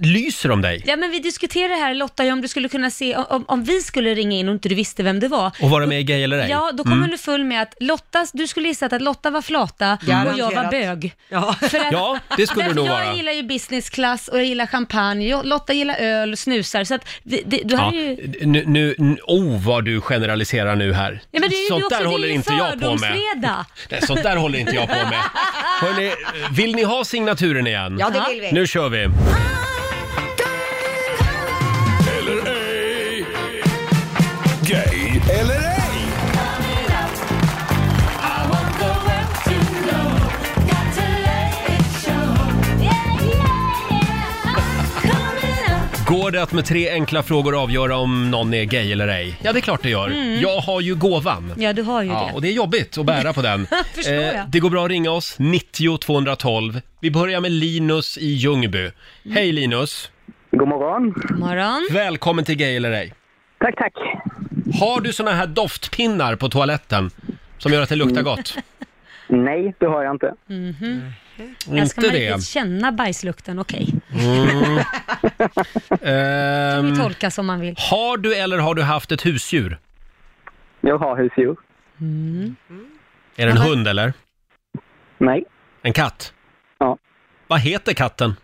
lyser om dig.
Ja men vi diskuterade här Lotta, ju om du skulle kunna se, om, om vi skulle ringa in och inte du visste vem det var.
Och vara med i Gay eller ej.
Ja, då kommer
Mm.
du full med att Lotta, du skulle gissat att Lotta var flata och jag var
Garanterat.
bög.
[LAUGHS] Ja.
För att,
Ja, det skulle
därför
du nog
jag
vara.
gillar ju business class och jag gillar champagne, jag, Lotta gillar öl, snusar, så att vi, det, du
Ja,
hade ju...
nu, nu, nu- oh vad du generaliserar nu här.
Ja, men det är ju
sånt
du också,
där
det är
håller
ju
inte jag på med.
fördomsfredag.
Nej, Eh, sånt där håller inte jag på med. Hörrni, vill ni ha signaturen igen?
Ja, det vill vi.
Nu kör vi.
Eller ej. Gay eller ej.
Går det att med tre enkla frågor avgöra om någon är gay eller ej? Ja, det är klart det gör.
Mm.
Jag har ju gåvan.
Ja, du har ju
Ja,
det.
och det är jobbigt att bära på den.
[LAUGHS]
Eh,
Förstår jag.
det går bra att ringa oss, 90 212. Vi börjar med Linus i
Mm.
Ljungby. Hej Linus!
God morgon!
God morgon!
Välkommen till Gay eller ej.
Tack, tack!
Har du såna här doftpinnar på toaletten som gör att det luktar gott?
Nej, det har jag inte.
Mhm.
Inte
Här ska man
det.
riktigt känna bajslukten, okej.
Mm. Ehm,
Det tolkas som man vill.
har du eller har du haft ett husdjur?
Jag har husdjur.
Är det en hund eller?
Nej.
En katt?
Ja.
Vad heter katten?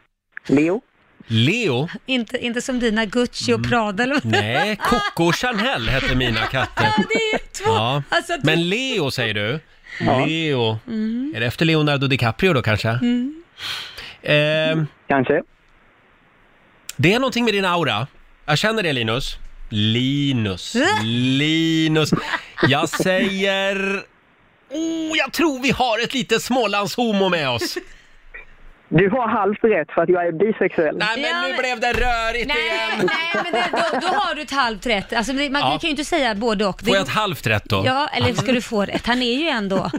Leo.
Leo?
Inte, inte som dina Gucci
Mm.
och Prada eller vad?
Nej, Coco och Chanel hette mina katter.
Ja, det är två.
Ja.
Alltså, det-
Men Leo säger du?
Ja.
Leo.
Mm.
Är det efter Leonardo DiCaprio då kanske?
Mm.
Ehm,
Kanske.
Det är någonting med din aura. Jag känner det Linus. Linus, Linus. Jag säger... Oh, jag tror vi har ett litet smålandshomo med oss.
Du har halvt rätt för att jag är bisexuell.
Nej, men nu blev det rörigt
igen! Nej, men det, då, då har du ett halvt rätt. Alltså, det- man
Ja.
kan ju inte säga både och. Det-
Får jag ett halvt rätt då?
Ja, eller ska du få rätt? Han är ju ändå...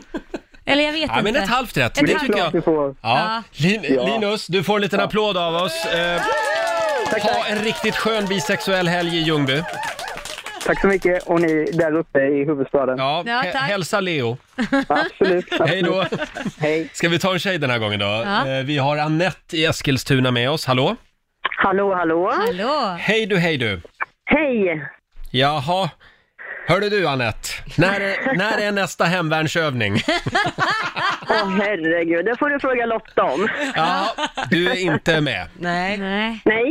Eller jag vet
Ja,
inte.
men ett halvt rätt.
Ett
Det
halvt
tycker jag.
rätt.
Ja.
Ja.
Lin
Ja.
Linus, du får en liten applåd av oss. Eh, ha en riktigt skön bisexuell helg i Ljungby.
Tack så mycket och ni där uppe i huvudstaden.
Ja,
Ja,
hä-
tack.
hälsa Leo.
Absolut.
[LAUGHS] Hej då.
Hej.
Ska vi ta en tjej den här gången då?
Ja.
Eh, Vi har Annette i Eskilstuna med oss. Hallå?
Hallå, hallå.
Hallå.
Hej du, hej du.
Hej.
Jaha. Hörde du Annette, när, är- när är nästa hemvärnsövning?
Åh herregud, det får du fråga Lotta om.
Ja, du är inte med.
Nej. Nej.
Nej.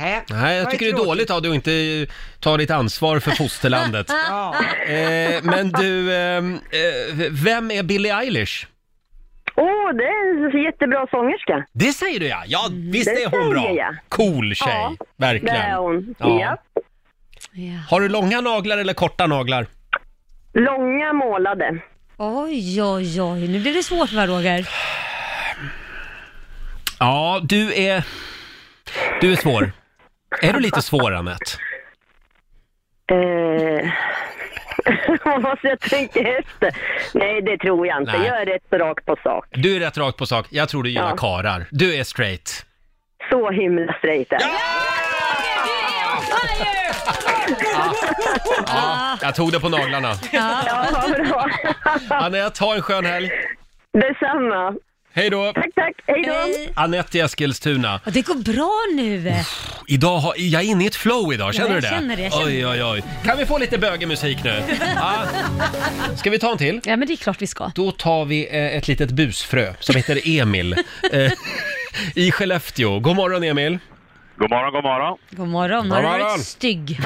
Nej,
Nej, jag tycker det är dåligt av dig att inte ta ditt ansvar för fosterlandet. eh, men du, ehm, eh, vem är Billie Eilish?
Åh, det är en jättebra sångerska.
Det säger du ja! Ja, visst
Det
är hon
säger
bra!
jag.
Cool tjej,
Ja,
verkligen.
Det är hon.
Ja.
Ja.
Har du långa naglar eller korta naglar?
Långa målade.
Oj, oj, oj. Nu blir det svårt va, Roger?
Ja, du är... Du är svår. Är du lite svår, Anette?
Eh, [LAUGHS] Vad måste jag tänka efter? Nej, det tror jag inte.
Nej.
Jag är rätt rakt på sak.
Du är rätt rakt på sak. Jag tror du gillar
Ja.
karar. Du är straight.
Så himla straight är jag.
Ja, jag tog det på naglarna.
Ja, bra.
Anette, ha en skön helg.
Detsamma.
Hej då!
Tack, tack. Hej då.
Anette i Eskilstuna.
Ja, det går bra nu.
Idag har, jag är inne i ett flow idag, känner
Ja,
du
jag
det?
känner det, jag känner
oj, oj, oj. Kan vi få lite bögemusik
[LAUGHS]
nu? Ja. Ska vi ta en till?
Ja, men det är klart vi ska.
Då tar vi eh, ett litet busfrö som heter
[LAUGHS]
Emil eh, i Skellefteå. God morgon Emil!
God morgon, god morgon!
God morgon.
God
Har du
morgon.
varit stygg?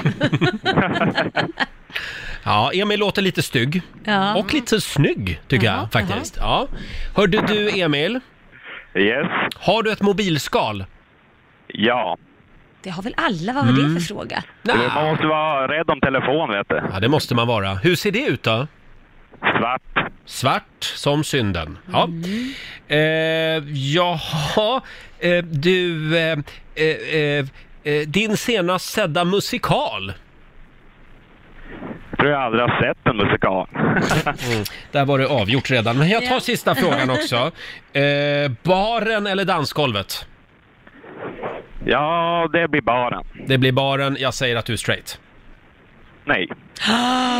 Ja, Emil låter lite stygg.
Ja.
Och lite snygg, tycker jag faktiskt. Ja. Hörde du Emil?
Yes.
Har du ett mobilskal?
Ja.
Det har väl alla? Vad var
Mm.
det för fråga?
Ah.
Man måste vara rädd om telefon, vet du.
Ja, det måste man vara. Hur ser det ut då?
Svart.
Svart som synden. Ja. Eh, jaha, eh, du... Eh, eh, eh, eh, din senast sedda musikal?
Jag tror jag aldrig har sett en musikal.
Där var det avgjort redan, men jag tar
Ja.
sista frågan också. [LAUGHS] Eh, baren eller dansgolvet?
Ja, det blir baren.
Det blir baren. Jag säger att du är straight.
Nej.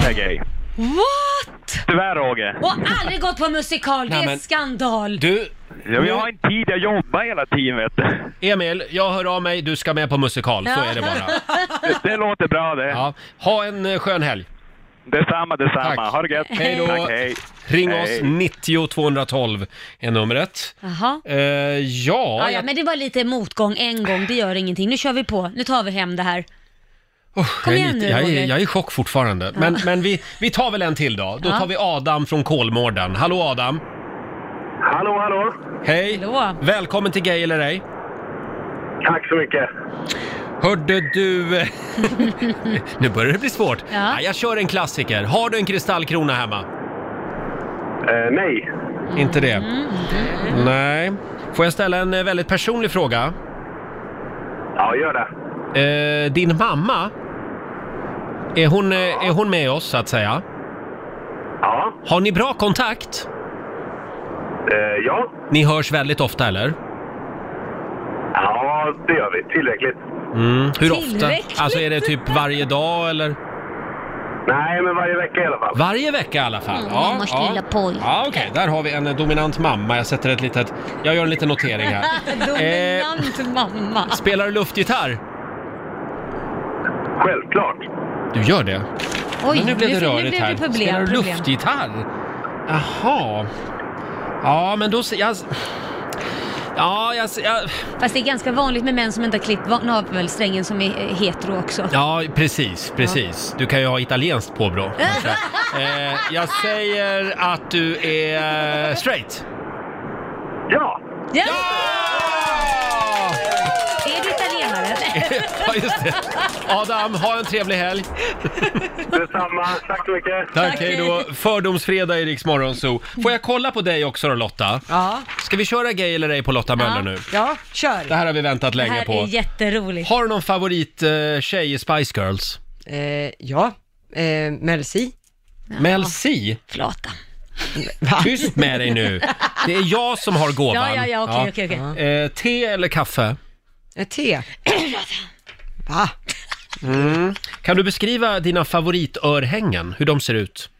Det är gay.
What?
Tyvärr, Roger.
Och aldrig gått på musikal, det
Nej,
är
men-
skandal!
Du...
Jag, jag har inte tid, jag jobbar hela tiden, vet du.
Emil, jag hör av mig. Du ska med på musikal, så är det bara. [LAUGHS]
Det låter bra det.
Ja. Ha en eh, skön helg.
Detsamma, detsamma.
Tack.
Ha det gött.
Hej då.
Tack, hej.
Ring
Hej.
oss, 90 212 är numret.
Jaha.
Eh, ja,
Ja, ja,
jag-
men det var lite motgång en gång, det gör ingenting. Nu kör vi på, nu tar vi hem det här. Kom
jag, är
igen
lite-
nu,
jag, är,
Roger.
jag är i chock fortfarande.
Ja.
Men, men vi, vi tar väl en till då. Då
Ja.
tar vi Adam från Kolmården. Hallå Adam!
Hallå, hallå!
Hej! Välkommen till Gay eller ej!
Tack så mycket!
Hörde du... eh, [LAUGHS] nu börjar det bli svårt.
Ja.
Nej, jag kör en klassiker. Har du en kristallkrona hemma?
Mm,
Eh, nej.
Inte det? Nej. Får jag ställa en eh, väldigt personlig fråga?
Ja, gör det.
Eh, din mamma, är hon, eh, är hon med oss så att säga?
Ja.
Har ni bra kontakt?
Eh, ja.
Ni hörs väldigt ofta eller?
Ja, det gör vi. Tillräckligt.
Mm. Hur ofta?
Tillräckligt.
Alltså är det typ varje dag eller?
Nej, men varje vecka i alla fall.
Varje vecka i alla fall?
Mm,
ja,
mammas
ja.
lilla pojke.
Ja, okej. Där har vi en eh, dominant mamma. Jag sätter ett litet... Jag gör en liten notering här. Eh,
[LAUGHS] Dominant mamma.
spelar du luftgitarr?
Självklart.
Du gör det?
Oj,
Men nu blev
nu
det
fi- nu
rörigt
blev det
här.
problem,
spelar du
problem.
luftgitarr? Jaha. Ja, men då... se- Jag... Ja, jag... jag...
Fast det är ganska vanligt med män som inte har klippt va- navelsträngen som är eh, hetero också.
Ja, precis, precis. Du kan ju ha italienskt påbrå.
[LAUGHS]
kanske. eh, jag säger att du är eh, straight.
Ja!
Ja! Är du italienare?
ja, just det. Adam, ha en trevlig helg.
[LAUGHS] Detsamma. Tack så mycket.
Tack, hej då. Fördomsfredag i Rix Morgon Zoo. Får jag kolla på dig också då Lotta?
Ja.
Ska vi köra gay eller ej på Lotta Möller nu?
Ja, kör.
Det här har vi väntat
Det här
länge
är
på.
jätteroligt.
Har du någon favorit eh, tjej i Spice Girls?
Eh, ja, eh, Mel C.
Mel C?
Flata.
Tyst med dig nu. Det är jag som har gåvan.
Ja, ja, ja, okej, okej, okej.
Eh, te eller kaffe?
Ett Eh,
[CLEARS THROAT]
te. Va?
Mm. Kan du beskriva dina favoritörhängen, hur de ser ut?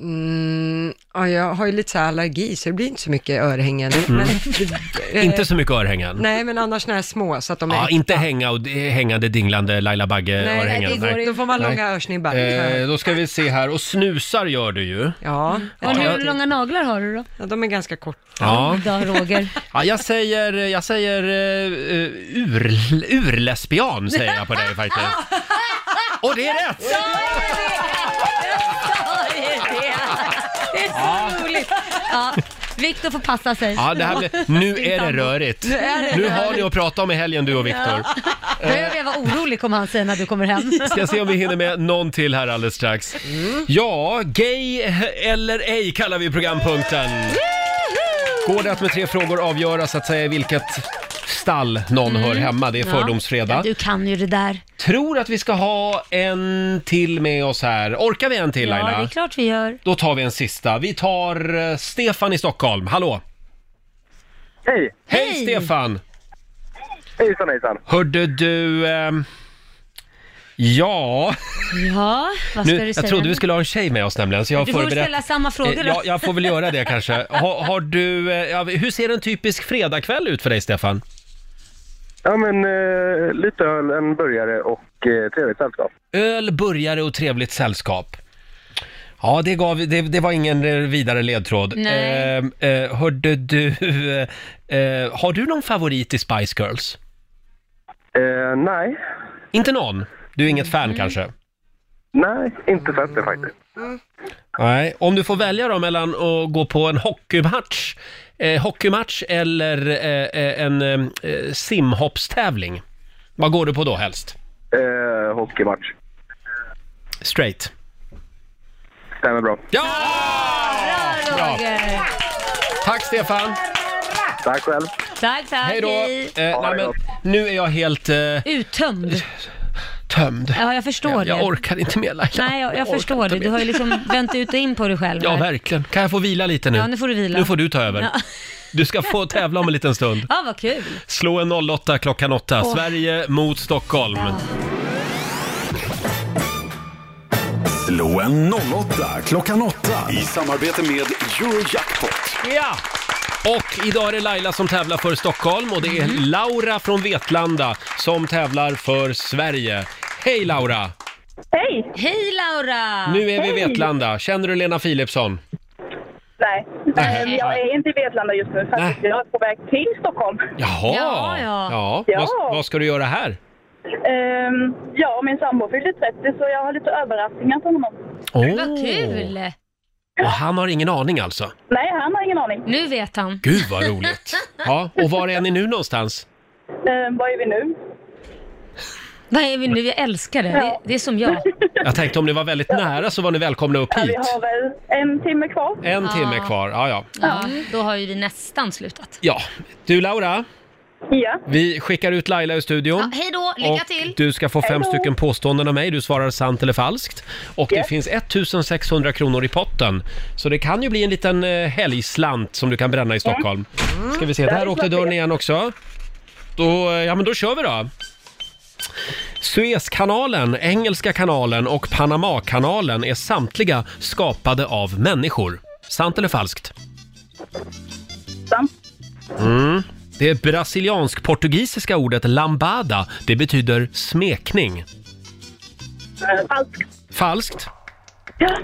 Mm, ja, jag har ju lite så här allergi så det blir inte så mycket örhängen.
Mm.
eh,
Inte så mycket örhängen.
Nej, men annars såna här små så att de är...
Ja, inte hänga och eh, hängande dinglande Laila
Nej,
Bagge-örhängen.
Eh, det går inte. Då får man långa örsnibbar.
Eh, då ska vi se här. Och snusar gör du ju.
Ja.
Men hur långa naglar har du då?
Ja, de är ganska korta.
Ja.
Då,
[LAUGHS]
Roger.
Ja, jag säger, jag säger eh, eh, ur, urlesbian säger jag på dig faktiskt. Och det är rätt!
Det är så roligt! Ja, Viktor får passa sig.
Ja, det här blir, nu är det rörigt.
Nu är det
Nu har
rörigt.
ni att prata om i helgen du och Viktor.
Ja.
eh.
Behöver jag vara orolig kommer han säga när du kommer hem.
Ska se om vi hinner med någon till här alldeles strax. Ja, gay eller ej kallar vi programpunkten. Går det att med tre frågor avgöra så att säga i vilket stall någon hör hemma? Det är
Mm. Ja.
fördomsfredag.
Ja, du kan ju det där.
Tror att vi ska ha en till med oss här. Orkar vi en till
ja,
Laila?
det är klart vi gör.
Då tar vi en sista. Vi tar eh, Stefan i Stockholm. Hallå!
Hej!
Hej, Stefan!
Hejsan hejsan!
Hörde du... ehm, ja...
Ja, vad ska
Nu,
du
jag
säga?
trodde vi skulle ha en tjej med oss nämligen. Så jag har
Du får väl
förberett-
ställa samma frågor
Eh,
då.
Ja, jag får väl göra det kanske. Har, har du, eh, ja, hur ser en typisk fredagkväll ut för dig, Stefan?
Ja men eh, lite öl, en burgare och eh, trevligt sällskap.
Öl, burgare och trevligt sällskap. Ja, det, gav, det, det var ingen eh, vidare ledtråd.
Nej.
Eh, eh, hörde du... Eh, eh, har du någon favorit i Spice Girls?
Eh, nej.
Inte någon? Du är inget fan kanske?
Nej, inte sett det faktiskt.
Nej. Om du får välja då mellan att gå på en hockeymatch, eh, hockeymatch eller eh, eh, en eh, simhoppstävling. Vad går du på då helst?
Eh, hockeymatch.
Straight.
Stämmer bra.
Ja!
Bra.
Tack Stefan!
Tack själv!
Tack, tack.
Hej då!
hej.
Eh, nej, men, nu är jag helt eh,
Uttömd.
tömd.
Ja, jag förstår
jag,
det.
Jag orkar inte mer Laila.
Nej, jag, jag
orkar
förstår
inte
det. Du
mer.
har ju liksom
[LAUGHS]
vänt ut och in på dig själv.
Ja,
här.
verkligen. Kan jag få vila lite nu?
Ja, nu får du vila.
Nu får du ta över.
Ja.
Du ska få tävla om en liten stund.
Ja, vad kul.
Slå en 08 klockan 8.
Åh.
Sverige mot Stockholm.
Slå en 08 klockan 8 i samarbete med Eurojackpot.
Ja! Och idag är det Laila som tävlar för Stockholm och det
Mhm.
är Laura från Vetlanda som tävlar för Sverige. Hej Laura!
Hej! Hej Laura!
Nu är vi i Vetlanda. Känner du Lena Philipsson?
Nej, Eh, jag är inte i Vetlanda just nu faktiskt. Jag är på väg till Stockholm.
Jaha!
Ja, ja.
ja.
Ja.
Vad, vad ska du göra här?
Ehm, ja, min sambo fyllde 30 så jag har lite överraskningar till honom.
Åh. Vad kul. Och han har ingen aning alltså?
Nej, han har ingen aning.
Nu vet han.
Gud vad roligt! Ja, och var är ni nu någonstans?
Ehm, var är vi nu?
Vad är vi nu? Jag älskar det. Det, det är som jag.
Jag tänkte om ni var väldigt nära så var ni välkomna upp
Ja, vi
hit.
har väl en timme kvar.
En timme kvar, ja ja.
Ja, då har ju vi nästan slutat.
Ja, du Laura,
Ja.
vi skickar ut Laila i studion.
Ja, hej då, lycka
och
till.
Du ska få
Hej
fem
då.
stycken påståenden av mig, du svarar sant eller falskt. Och det
Yes.
finns 1600 kronor i potten. Så det kan ju bli en liten eh, helgslant som du kan bränna i Stockholm.
Mm.
Ska vi se, där åkte dörren igen också. Då, eh, ja men då kör vi då. Suezkanalen, Engelska kanalen och Panamakanalen är samtliga skapade av människor. Sant eller falskt?
Sant.
Mm. Det brasiliansk-portugisiska ordet lambada, det betyder smekning.
Ehm, falskt.
Falskt?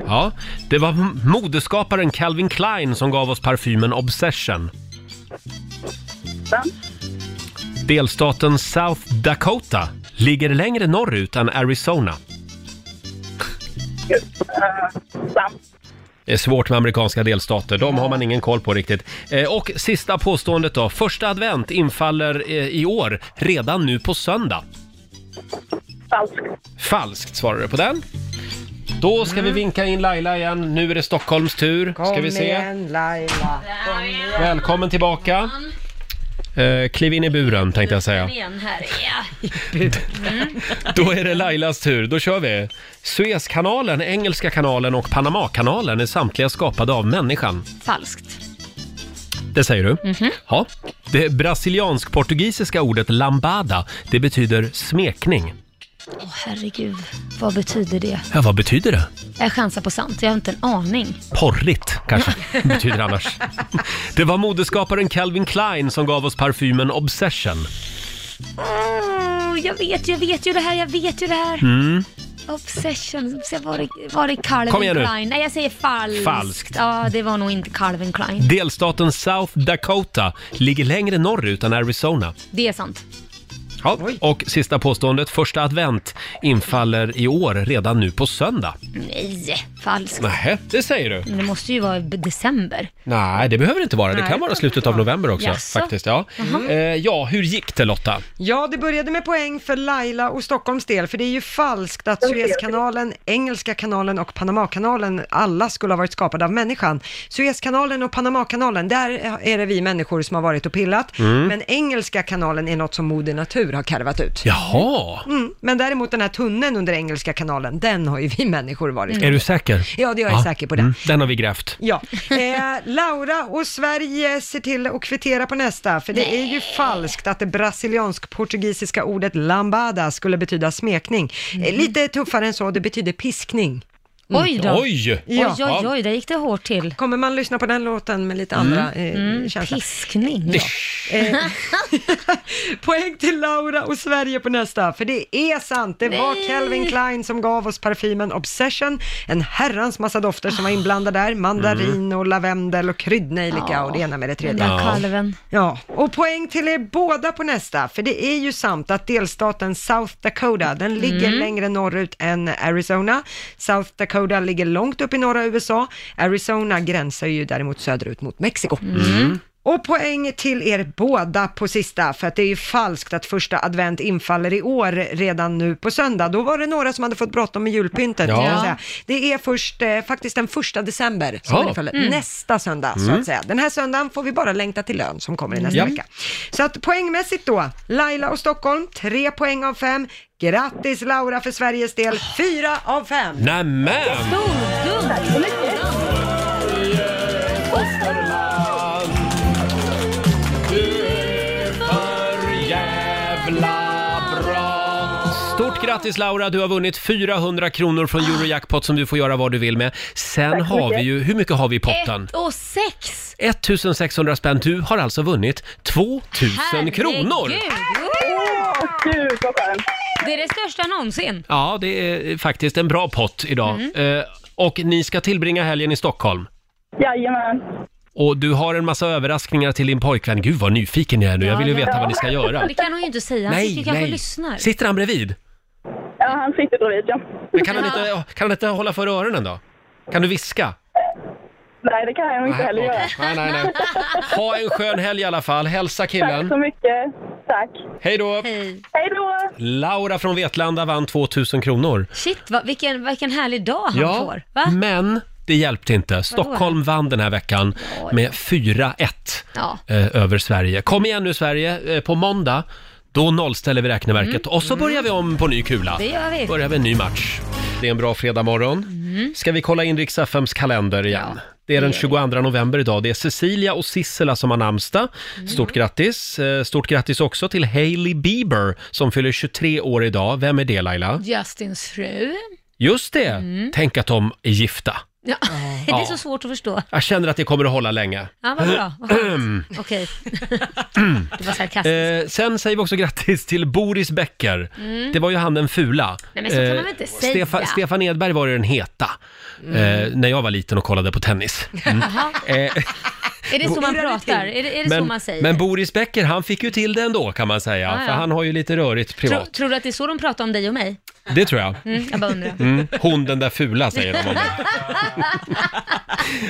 Ja. Det var m- modeskaparen Calvin Klein som gav oss parfymen Obsession.
Sant.
Delstaten South Dakota ligger längre norrut än Arizona.
Ehm, sant.
Det är svårt med amerikanska delstater, de har man ingen koll på riktigt. Eh, Och sista påståendet då, första advent infaller eh, i år redan nu på söndag.
Falskt.
Falskt svarar du på den. Då ska vi vinka in Laila igen, nu är det Stockholms tur. Ska vi
Mm. Kom
se.
igen Laila. Kom igen.
Välkommen tillbaka. Eh, kliv in i buren tänkte jag säga.
Kom igen här. Ja.
Mm.
[LAUGHS] Då är det Lailas tur, då kör vi. Suezkanalen, Engelska kanalen och Panamakanalen är samtliga skapade av människan.
Falskt.
Det säger du?
Mhm.
Ja. Det brasiliansk-portugisiska ordet lambada, det betyder smekning.
Åh herregud, vad betyder det?
Ja, vad betyder det?
Jag chansar på sant, jag har inte en aning.
Porrigt kanske [LAUGHS] det betyder annars. Det var modeskaparen Calvin Klein som gav oss parfymen Obsession.
Åh, jag vet, jag vet ju det här, jag vet ju det här.
Mm.
Obsession, så var det, var det Calvin
Kom igen nu.
Klein? Nej, jag säger falskt.
Falskt.
Ja, det var nog inte Calvin Klein.
Delstaten South Dakota ligger längre norrut än Arizona.
Det är sant.
Ja. Och sista påståendet, första advent infaller i år redan nu på söndag.
Nej, falskt.
Nej, det säger du.
Men det måste ju vara december.
Nej, det behöver det inte vara. Det
Nej,
kan vara slutet av november också
Jaså?
faktiskt. Ja.
Mhm.
Eh, ja, hur gick det Lotta?
Ja, det började med poäng för Laila och Stockholms del, för det är ju falskt att Suezkanalen, Engelska kanalen och Panamakanalen alla skulle ha varit skapade av människan. Suezkanalen och Panamakanalen, där är det vi människor som har varit och pillat,
Mm.
men Engelska kanalen är något som Moder Natur har karvat ut.
Jaha!
Mm, men däremot den här tunneln under Engelska kanalen, den har ju vi människor varit
Är du säker?
Mm. Ja, det är jag säker på det.
Mm, den har vi grävt.
Ja, eh, Laura och Sverige ser till att kvittera på nästa, för det är ju falskt att det brasiliansk-portugisiska ordet lambada skulle betyda smekning.
Mm.
Eh, Lite tuffare än så, det betyder piskning.
Mm.
Oj då. Oj. Oj, oj, oj,
där gick det hårt till. Kommer man lyssna på den låten med lite andra eh,
Mm,
känsla?
Piskning.
Ja. Eh, [LAUGHS] Poäng till Laura och Sverige på nästa, för det är sant. Det var
Nej.
Calvin Klein som gav oss parfymen Obsession, en herrans massa dofter som var inblandade där. Mandarin och lavendel och kryddnejlika
Mm. Ja.
och det ena med det tredje.
Den där Ja. kalven.
Ja, och poäng till er båda på nästa, för det är ju sant att delstaten South Dakota, den ligger
Mm.
längre norrut än Arizona. South Dakota ligger långt upp i norra USA. Arizona gränsar ju däremot söderut mot Mexiko.
Mm.
Och poäng till er båda på sista, för att det är ju falskt att första advent infaller i år redan nu på söndag. Då var det några som hade fått bråttom med julpyntet.
Ja.
kan jag säga. Det är först eh, faktiskt den första december som
Ja.
det faller.
Mm.
Nästa söndag, så
Mm.
att säga. Den här söndagen får vi bara längta till lön som kommer i nästa
Ja.
vecka. Så att poängmässigt då, Laila och Stockholm, tre poäng av fem. Grattis Laura för Sveriges del, fyra av fem.
Nämen! Stort grattis Laura, du har vunnit 400 kronor från Eurojackpot som du får göra vad du vill med. Sen
Tack så
har
mycket.
vi ju, hur mycket har vi i potten?
Ett och sex!
1600 spänn. Du har alltså vunnit 2000 kronor!
Herregud! Det är det största någonsin.
Ja, det är eh, faktiskt en bra pott idag.
Mm.
Eh, och ni ska tillbringa helgen i Stockholm.
Jajamän.
Och du har en massa överraskningar till din pojkvän. Gud vad nyfiken jag är nu, jag vill ju
Ja, ja.
veta vad ni ska göra.
Det kan hon ju inte säga, han sitter ju kanske och lyssnar.
Sitter han bredvid?
Ja, han sitter bredvid, ja.
Men kan han inte, kan han inte hålla för öronen då? Kan du viska?
Nej, det kan jag nog inte
Nej,
heller göra.
okej. Nej, nej, nej. Ha en skön helg i alla fall. Hälsa
Tack så
killen.
mycket. Tack.
Hej då!
Hej då!
Laura från Vetlanda vann 2000 kronor.
Shit, vad, vilken, vilken härlig dag han får. Va?
men det hjälpte inte. Stockholm vann den här veckan med 4-1
Ja.
eh, över Sverige. Kom igen nu Sverige, eh, på måndag då nollställer vi räkneverket
Mm.
och så börjar vi om på ny kula.
Det gör vi. Mm.
Börjar med en ny match. Det är en bra fredagmorgon. Ska vi kolla in riks FMs kalender igen? Det är den 22 november idag. Det är Cecilia och Sissela som har namnsdag.
Mm.
Stort grattis! Eh, Stort grattis också till Hailey Bieber som fyller 23 år idag. Vem är det Laila?
Justins fru.
Just det!
Mm.
Tänk att de är gifta.
Ja. [LAUGHS] Det är
Ja.
så svårt att förstå.
Jag känner att det kommer att hålla länge.
Ja, vad bra.
[CLEARS THROAT]
Vad skönt. Okej. Det var sarkastiskt.
Eh, sen säger vi också grattis till Boris Becker.
Mm.
Det var ju han den fula. Eh,
Nej, men så kan man väl inte säga? Mm.
Stefa, Stefan Edberg var ju den heta. Eh, när jag var liten och kollade på
[LAUGHS]
tennis. Mm. Eh,
Jaha. Är det så man
Irrar det
pratar?
till?
Är det, är det så man säger?
men Boris Becker, han fick ju till det ändå kan man säga.
Ah, ja.
För han har ju lite rörigt
Tro,
privat.
tror du att det är så de pratar om dig och mig?
Det tror jag.
Mm, jag bara undrar.
Mm. Hon den där fula säger de om mig.
[LAUGHS]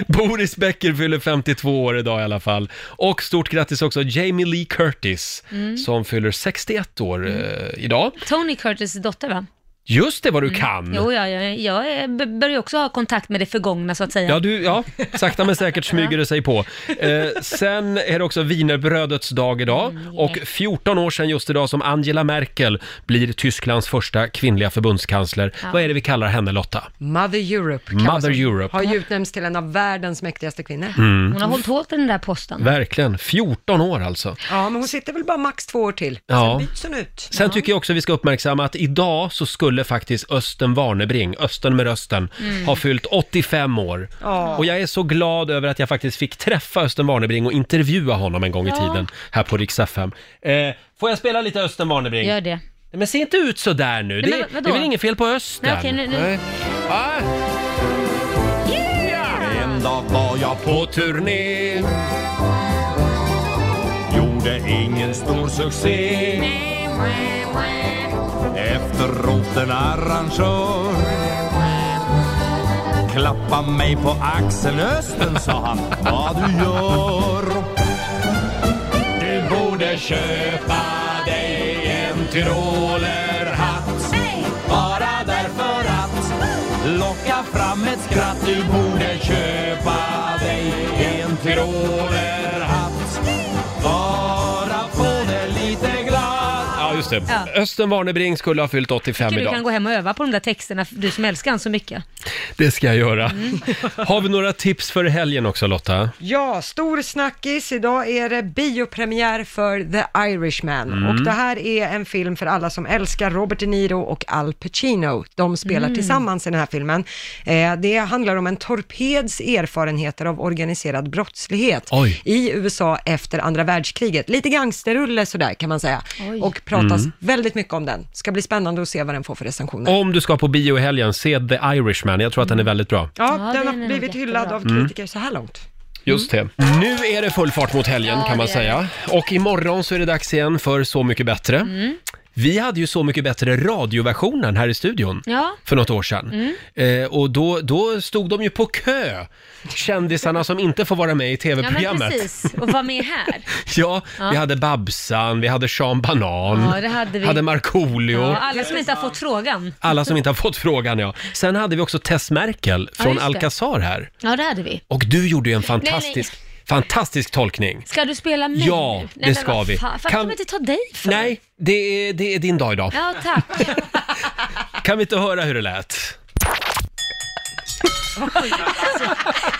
Boris Becker fyller 52 år idag i alla fall. Och stort grattis också Jamie Lee Curtis
Mm.
som fyller 61 år eh, idag.
Tony Curtis dotter va?
Just det, vad du kan!
Jo, Mm. ja, jag, jag är- b- börjar ju också ha kontakt med det förgångna så att säga.
Ja, du, ja, sakta men säkert smyger det sig på. Eh, sen är det också wienerbrödets dag idag
Mm,
och 14 år sedan just idag som Angela Merkel blir Tysklands första kvinnliga förbundskansler.
Ja.
Vad är det vi kallar henne Lotta?
Mother Europe.
Mother Europe.
Har ju utnämnts till en av världens mäktigaste kvinnor.
Mm. Hon har
hållit hårt i den där posten.
Verkligen, 14 år alltså.
Ja, men hon sitter väl bara max två år till.
Ja.
Sen byts hon ut.
Sen tycker jag också vi ska uppmärksamma att idag så skulle faktiskt Östen Warnerbring, Östen med rösten,
Mm.
ha fyllt 85 år.
Ja.
Och jag är så glad över att jag faktiskt fick träffa Östen Warnerbring och intervjua honom en gång i
Ja.
tiden här på Rix FM. Eh, får jag spela lite Östen Warnerbring?
Gör det.
Men se inte ut så där nu,
Nej,
det,
men
är-
vadå?
det är väl inget fel på Östen?
Nej, okej, nu- nu-
Nej. Ah. En dag var jag på turné
Gjorde ingen stor succé Efteråt en arrangör Klappa mig på axeln Östen sa han Vad du gör Du borde köpa dig en tyrolerhatt Bara därför att Locka fram ett skratt Du borde köpa dig en tyrolerhatt Bara få dig lite glad
Ja, just det.
Ja.
Östen Warnerbring skulle ha fyllt 85
Tycker du
idag.
kan gå hem och öva på de där texterna, för du som älskar han så mycket.
Det ska jag göra.
Mm.
[LAUGHS] Har vi några tips för helgen också Lotta?
Ja, stor snackis. Idag är det biopremiär för The Irishman.
Mm.
Och det här är en film för alla som älskar Robert De Niro och Al Pacino. De spelar
Mm.
tillsammans i den här filmen. Eh, det handlar om en torpeds erfarenheter av organiserad brottslighet
Oj.
i USA efter andra världskriget. Lite gangsterrulle sådär kan man säga.
Oj.
Och pratas
Mm.
väldigt mycket om den. Ska bli spännande att se vad den får för recensioner.
Om du ska på bio i helgen, se The Irishman. Jag tror att den är
Mm.
väldigt bra.
Ja,
Ja,
den
den
har
är nog
blivit hyllad
jättebra.
av
Mm.
kritiker så här långt.
Just det. Mm. Nu är det full fart mot helgen
Ja,
kan man
det är
säga. Och imorgon så är det dags igen för Så mycket bättre.
Mm.
Vi hade ju Så mycket bättre radioversionen här i studion.
Ja.
För något år sedan.
Mm.
Eh, och då, då stod de ju på kö, kändisarna som inte får vara med i
Ja, men
tv-programmet.
precis. Och vara med här.
[LAUGHS] Ja,
Ja.
vi hade Babsan, vi hade Sean Banan,
Ja, det hade vi.
Markoolio.
[LAUGHS] Ja, alla som inte har fått frågan.
Alla som inte har fått frågan, ja. Sen hade vi också Tess Merkel
Ja,
från
just det.
Alcazar här.
Ja, det hade vi.
Och du gjorde ju en fantastisk, fantastisk tolkning.
Ska du spela mig
Ja,
nu?
det ska vi.
Fan,
Kan-
kan... de inte ta dig för?
Nej, det är, det är din dag idag.
Ja, tack.
Kan vi inte höra hur det lät?
[LAUGHS]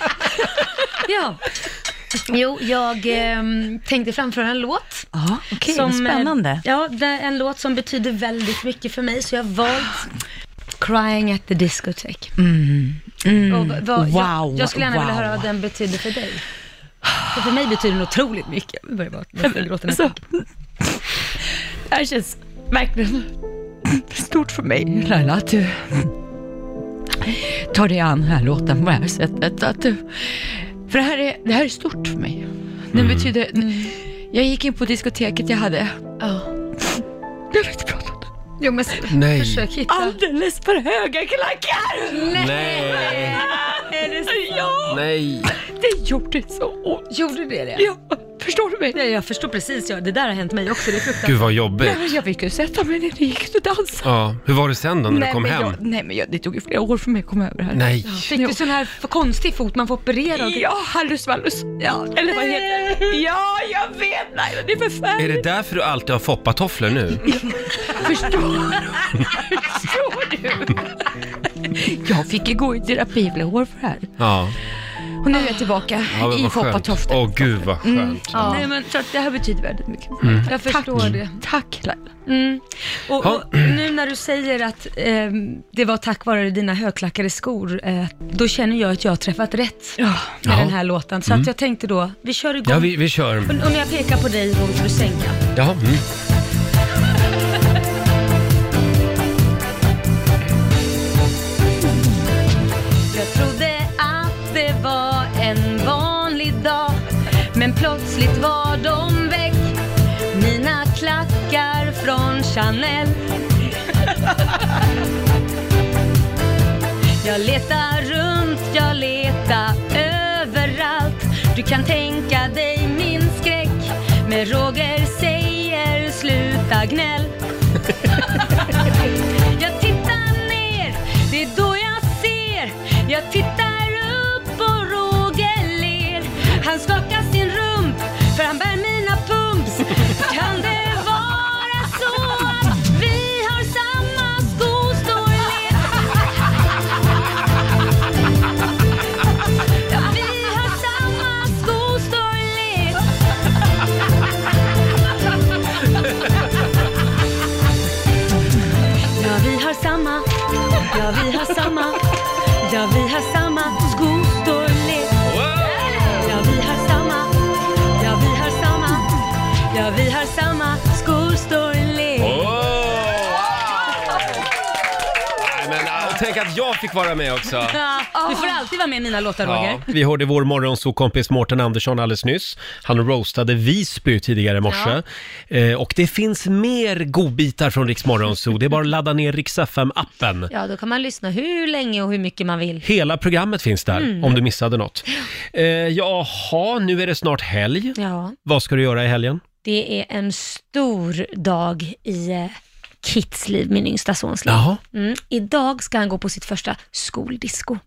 ja. Jo, jag ehm, tänkte framföra en låt.
Ja, okej,
Som, eh,
spännande.
Ja, det är en låt som betyder väldigt mycket för mig, så jag har valt Crying at the discotheque.
Mm. Mm.
Och vad- vad-
wow,
jag, jag skulle gärna
wow.
vilja höra vad den betyder för dig. För, för mig betyder den otroligt mycket. Jag börjar bara nästan gråta när jag
Så.
tänker.
Det här känns verkligen stort för mig, Laila, att du tar dig an den här låten på det här sättet. Att du, för det här, är, det här är stort för mig. Det
Mm.
betyder... Jag gick in på diskoteket jag hade. Jag vet inte prata om det. Jo, men
Nej.
försök hitta.
Alldeles för höga klackar!
Nej.
Är det så?
Ja,
Nej.
det gjorde så ont.
Gjorde det det?
Ja, förstår du mig?
Nej, jag förstår precis. Ja. Det där har hänt mig också. Det är fruktansvärt.
Gud vad jobbigt.
Nej, men Jag fick ju sätta mig ner och gick och dansa.
Ja, hur var det sen då när du
Nej,
kom
men
hem?
Jag, nej, men jag, det tog ju flera år för mig att komma över det här.
Nej.
Fick du sån här för konstig fot man får operera? och-
Ja, hallus vallus. Ja, eller vad heter det? Ja, jag vet! Nej, det är
Är
förfärligt.
det därför du alltid har foppatofflor nu?
Förstår du? Förstår du? Jag fick ju gå i terapi i flera år för det här.
Ja.
Och nu är jag tillbaka
ja men
i
vad skönt.
foppatoften.
Åh gud vad skönt.
Mm. Ja. Nej, men så att det här betyder väldigt mycket.
Mm.
Jag förstår
Tack.
det.
Tack Laila.
Mm. Och,
Ja.
och nu när du säger att eh, det var tack vare dina högklackade skor, eh, då känner jag att jag har träffat rätt med
Ja.
den här låten. Så
Mm.
att jag tänkte då, vi kör igång.
Ja, vi, vi kör.
Och, och när jag pekar på dig, då får du sänka.
Jaha. Mm.
Jag trodde att det var en vanlig dag Men plötsligt var de väck Mina klackar från Chanel Jag letar runt, jag letar överallt Du kan tänka dig min skräck Men Roger säger sluta gnäll jag tittar
Jag tittar upp och Roger ler. Han skakar sin rump för han bär mina pumps. Kan det vara så att vi har samma skostorlek? Ja, vi har samma skostorlek. Ja, vi har samma. Ja, vi har samma. Ja, vi har samma skostorlek. Ja, vi har samma. Ja, vi har samma. Ja, vi har samma skostorlek.
Nej, men, ah, tänk att jag fick vara med också.
Ja, du får alltid vara med i mina låtar,
Ja,
Roger.
vi hörde vår morgonsokompis Mårten Andersson alldeles nyss. Han roastade Visby tidigare i morse. Eh, och det finns mer godbitar från Riks Morgonzoo. Det är bara att ladda ner Rix FM-appen.
Ja, då kan man lyssna hur länge och hur mycket man vill.
Hela programmet finns där,
Mm.
om du missade något. Eh, jaha, nu är det snart helg.
Ja,
Vad ska du göra i helgen?
det är en stor dag i eh, Kits liv, min yngsta sons liv.
Jaha.
Mm. Idag ska han gå på sitt första skoldisco.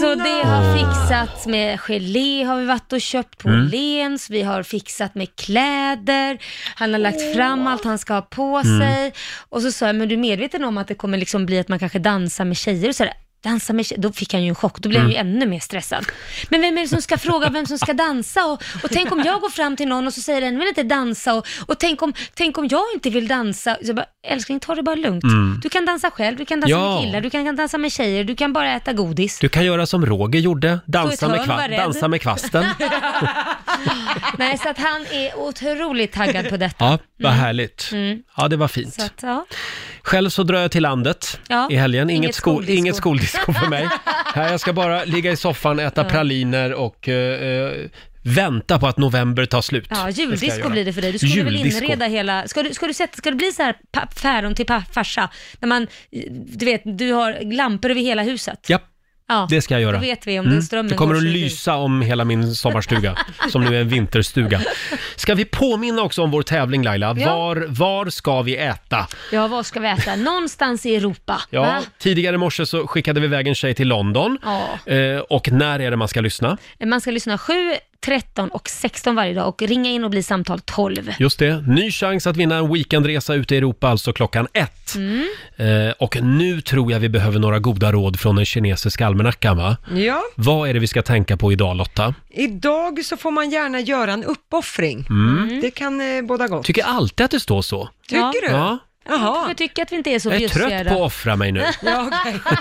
så det har fixats med gelé har vi varit och köpt på
Mm.
Åhléns, vi har fixat med kläder, han har lagt fram allt han ska ha på
Mm.
sig. Och så sa jag, men du är medveten om att det kommer liksom bli att man kanske dansar med tjejer och sådär. Dansa med tjejer, då fick han ju en chock, då blev han ju ännu mer stressad. Men vem är det som ska fråga vem som ska dansa? Och, och tänk om jag går fram till någon och så säger den, vill inte dansa? Och, och tänk, om, tänk om jag inte vill dansa? Så jag bara, älskling ta det bara lugnt.
Mm.
Du kan dansa själv, du kan dansa
Ja.
med killar, du kan dansa med tjejer, du kan bara äta godis.
Du kan göra som Roger gjorde,
Stå
dansa
i ett
med,
hörn, var
kva-
rädd.
dansa med
[LAUGHS]
kvasten.
Nej, så att han är otroligt taggad på detta.
Ja, vad
Mm.
härligt.
Mm.
Ja, det var fint.
Så att, ja.
Själv så drar jag till landet
Ja,
i helgen. Inget,
inget
sko-
skoldisco.
inget skoldisco för
[LAUGHS]
mig. Nej, jag ska bara ligga i soffan, äta
Ja.
praliner och eh, eh, vänta på att november tar slut.
Ja,
Det ska jag
juldisco
göra.
blir det för dig. Du skulle
Juldisco.
väl inreda hela... Ska du, ska du, sätta, ska det bli så här pa- päron till pa- farsa? När man, du vet, du har lampor över hela huset.
Ja,
Ja,
det ska jag göra.
Då vet vi om
Mm.
den strömmen
Det kommer
går
att
förbi.
lysa om hela min
[LAUGHS]
sommarstuga, som nu är en vinterstuga. Ska vi påminna också om vår tävling Laila?
Ja.
Var, var ska vi äta?
Ja, vad ska vi äta? Någonstans i Europa.
Ja,
Va?
tidigare i morse så skickade vi iväg en tjej till London.
Ja.
Eh, och när är det man ska lyssna?
Man ska lyssna 7, 13 och 16 varje dag och ringa in och bli samtal 12.
Just det, ny chans att vinna en weekendresa ute i Europa, alltså klockan ett.
Mm.
Eh, och nu tror jag vi behöver några goda råd från den kinesiska almanackan, va?
Ja.
Vad är det vi ska tänka på idag, Lotta?
Idag så får man gärna göra en uppoffring.
Mm.
Det kan eh, båda gott.
Tycker alltid att det står så.
Tycker du?
Ja.
Jaha.
Jag tycker att vi inte är så
Jag är trött på att offra mig
[LAUGHS]
nu.
Ja, okej. [LAUGHS]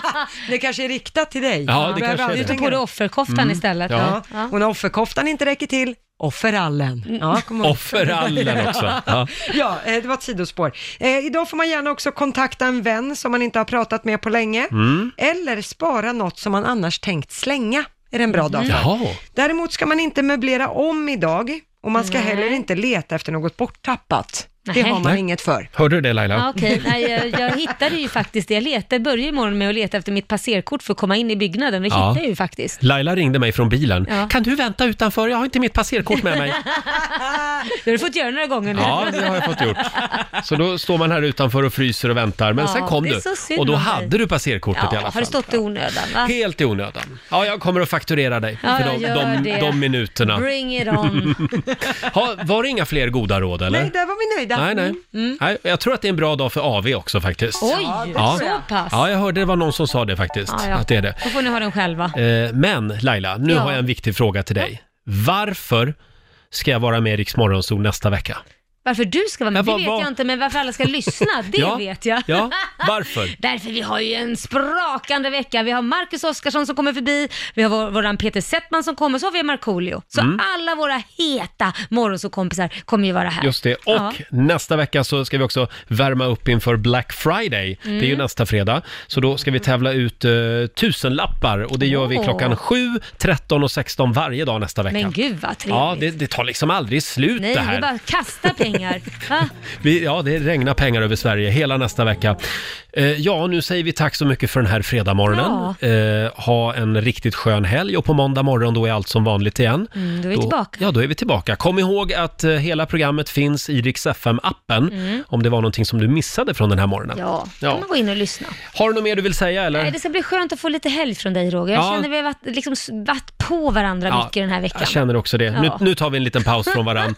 Det kanske är riktat till dig.
Ja, det kanske är det. Du tar på dig
offerkoftan
Mm. istället. Ja.
Ja. Och när offerkoftan inte räcker till, offerallen. Ja, kom ihåg.
Offerallen också. Ja.
[LAUGHS] Ja, eh, det var ett sidospår. Eh, idag får man gärna också kontakta en vän som man inte har pratat med på länge.
Mm.
Eller spara något som man annars tänkt slänga. Är det en bra
Mm.
dag för.
Jaha.
Däremot ska man inte möblera om idag och man ska
Nej.
heller inte leta efter något borttappat. Det
Nej.
har man
Nej.
inget för.
Hörde du det Laila?
Ja, Ah, okej. Nej, jag, jag hittade ju faktiskt det. Jag letade, började imorgon med att leta efter mitt passerkort för att komma in i byggnaden. Det
Ja.
hittade jag ju faktiskt.
Laila ringde mig från bilen.
Ja.
Kan du vänta utanför? Jag har inte mitt passerkort med
[LAUGHS]
mig.
det har du fått göra några gånger nu.
Ja, det har jag fått gjort. Så då står man här utanför och fryser och väntar, men
Ja,
sen kom
det är
du.
så synd
Och då
om dig.
hade du passerkortet i alla
Ja, har
fall.
det stått i onödan? Va?
Helt i onödan. Ja, jag kommer att fakturera dig
Ja,
för
jag
de,
gör
de,
det.
de minuterna.
Bring
[LAUGHS]
it on.
ha, var det inga fler goda råd eller?
Nej, där var vi nöjda.
Nej, nej.
Mm.
nej. Jag tror att det är en bra dag för AV också faktiskt.
Oj,
ja.
så pass.
Ja, jag hörde det var någon som sa det faktiskt.
Ja, ja.
Att det är det.
Då får ni ha den själva.
Eh, Men Laila, nu
Ja.
har jag en viktig fråga till dig. Varför ska jag vara med i Rix Morgonzoo nästa vecka?
Varför du ska vara med,
Ja,
det
vad-
vet
vad-
jag inte, men varför
[LAUGHS]
alla ska lyssna, det
Ja,
vet jag.
ja, varför?
[LAUGHS] Därför vi har ju en sprakande vecka. Vi har Marcus Oskarsson som kommer förbi, vi har vår, våran Peter Settman som kommer, så har vi Markoolio. Så
Mm.
alla våra heta morgonsåkompisar kommer ju vara här.
Just det. Och
Ja.
nästa vecka så ska vi också värma upp inför Black Friday.
Mm.
Det är ju nästa fredag. Så då ska vi tävla ut uh, tusenlappar och det gör vi
Åh.
klockan 7, 13 och 16 varje dag nästa vecka.
Men gud vad trevligt.
Ja, det, det tar liksom aldrig slut
Nej,
det
det är
här.
bara att kasta pengar. Va?
Vi, ja, det regnar pengar över Sverige hela nästa vecka. Eh, ja, nu säger vi tack så mycket för den här fredagsmorgonen. Eh, ha en riktigt skön helg och på måndag morgon då är allt som vanligt igen.
Mm, då är vi tillbaka.
Ja, [LAUGHS] då är vi tillbaka. Kom ihåg att eh, hela programmet finns i Rix FM-appen
Mm.
om det var någonting som du missade från den här morgonen.
Ja, då kan man gå in och lyssna.
Har du något mer du vill säga eller?
Nej, det ska bli skönt att få lite helg från dig Roger. Jag
Ja.
känner vi har varit, liksom, varit på varandra
Ja,
mycket den här veckan.
Jag känner också det. Nu,
Ja. [LAUGHS]
nu tar vi en liten paus från varann.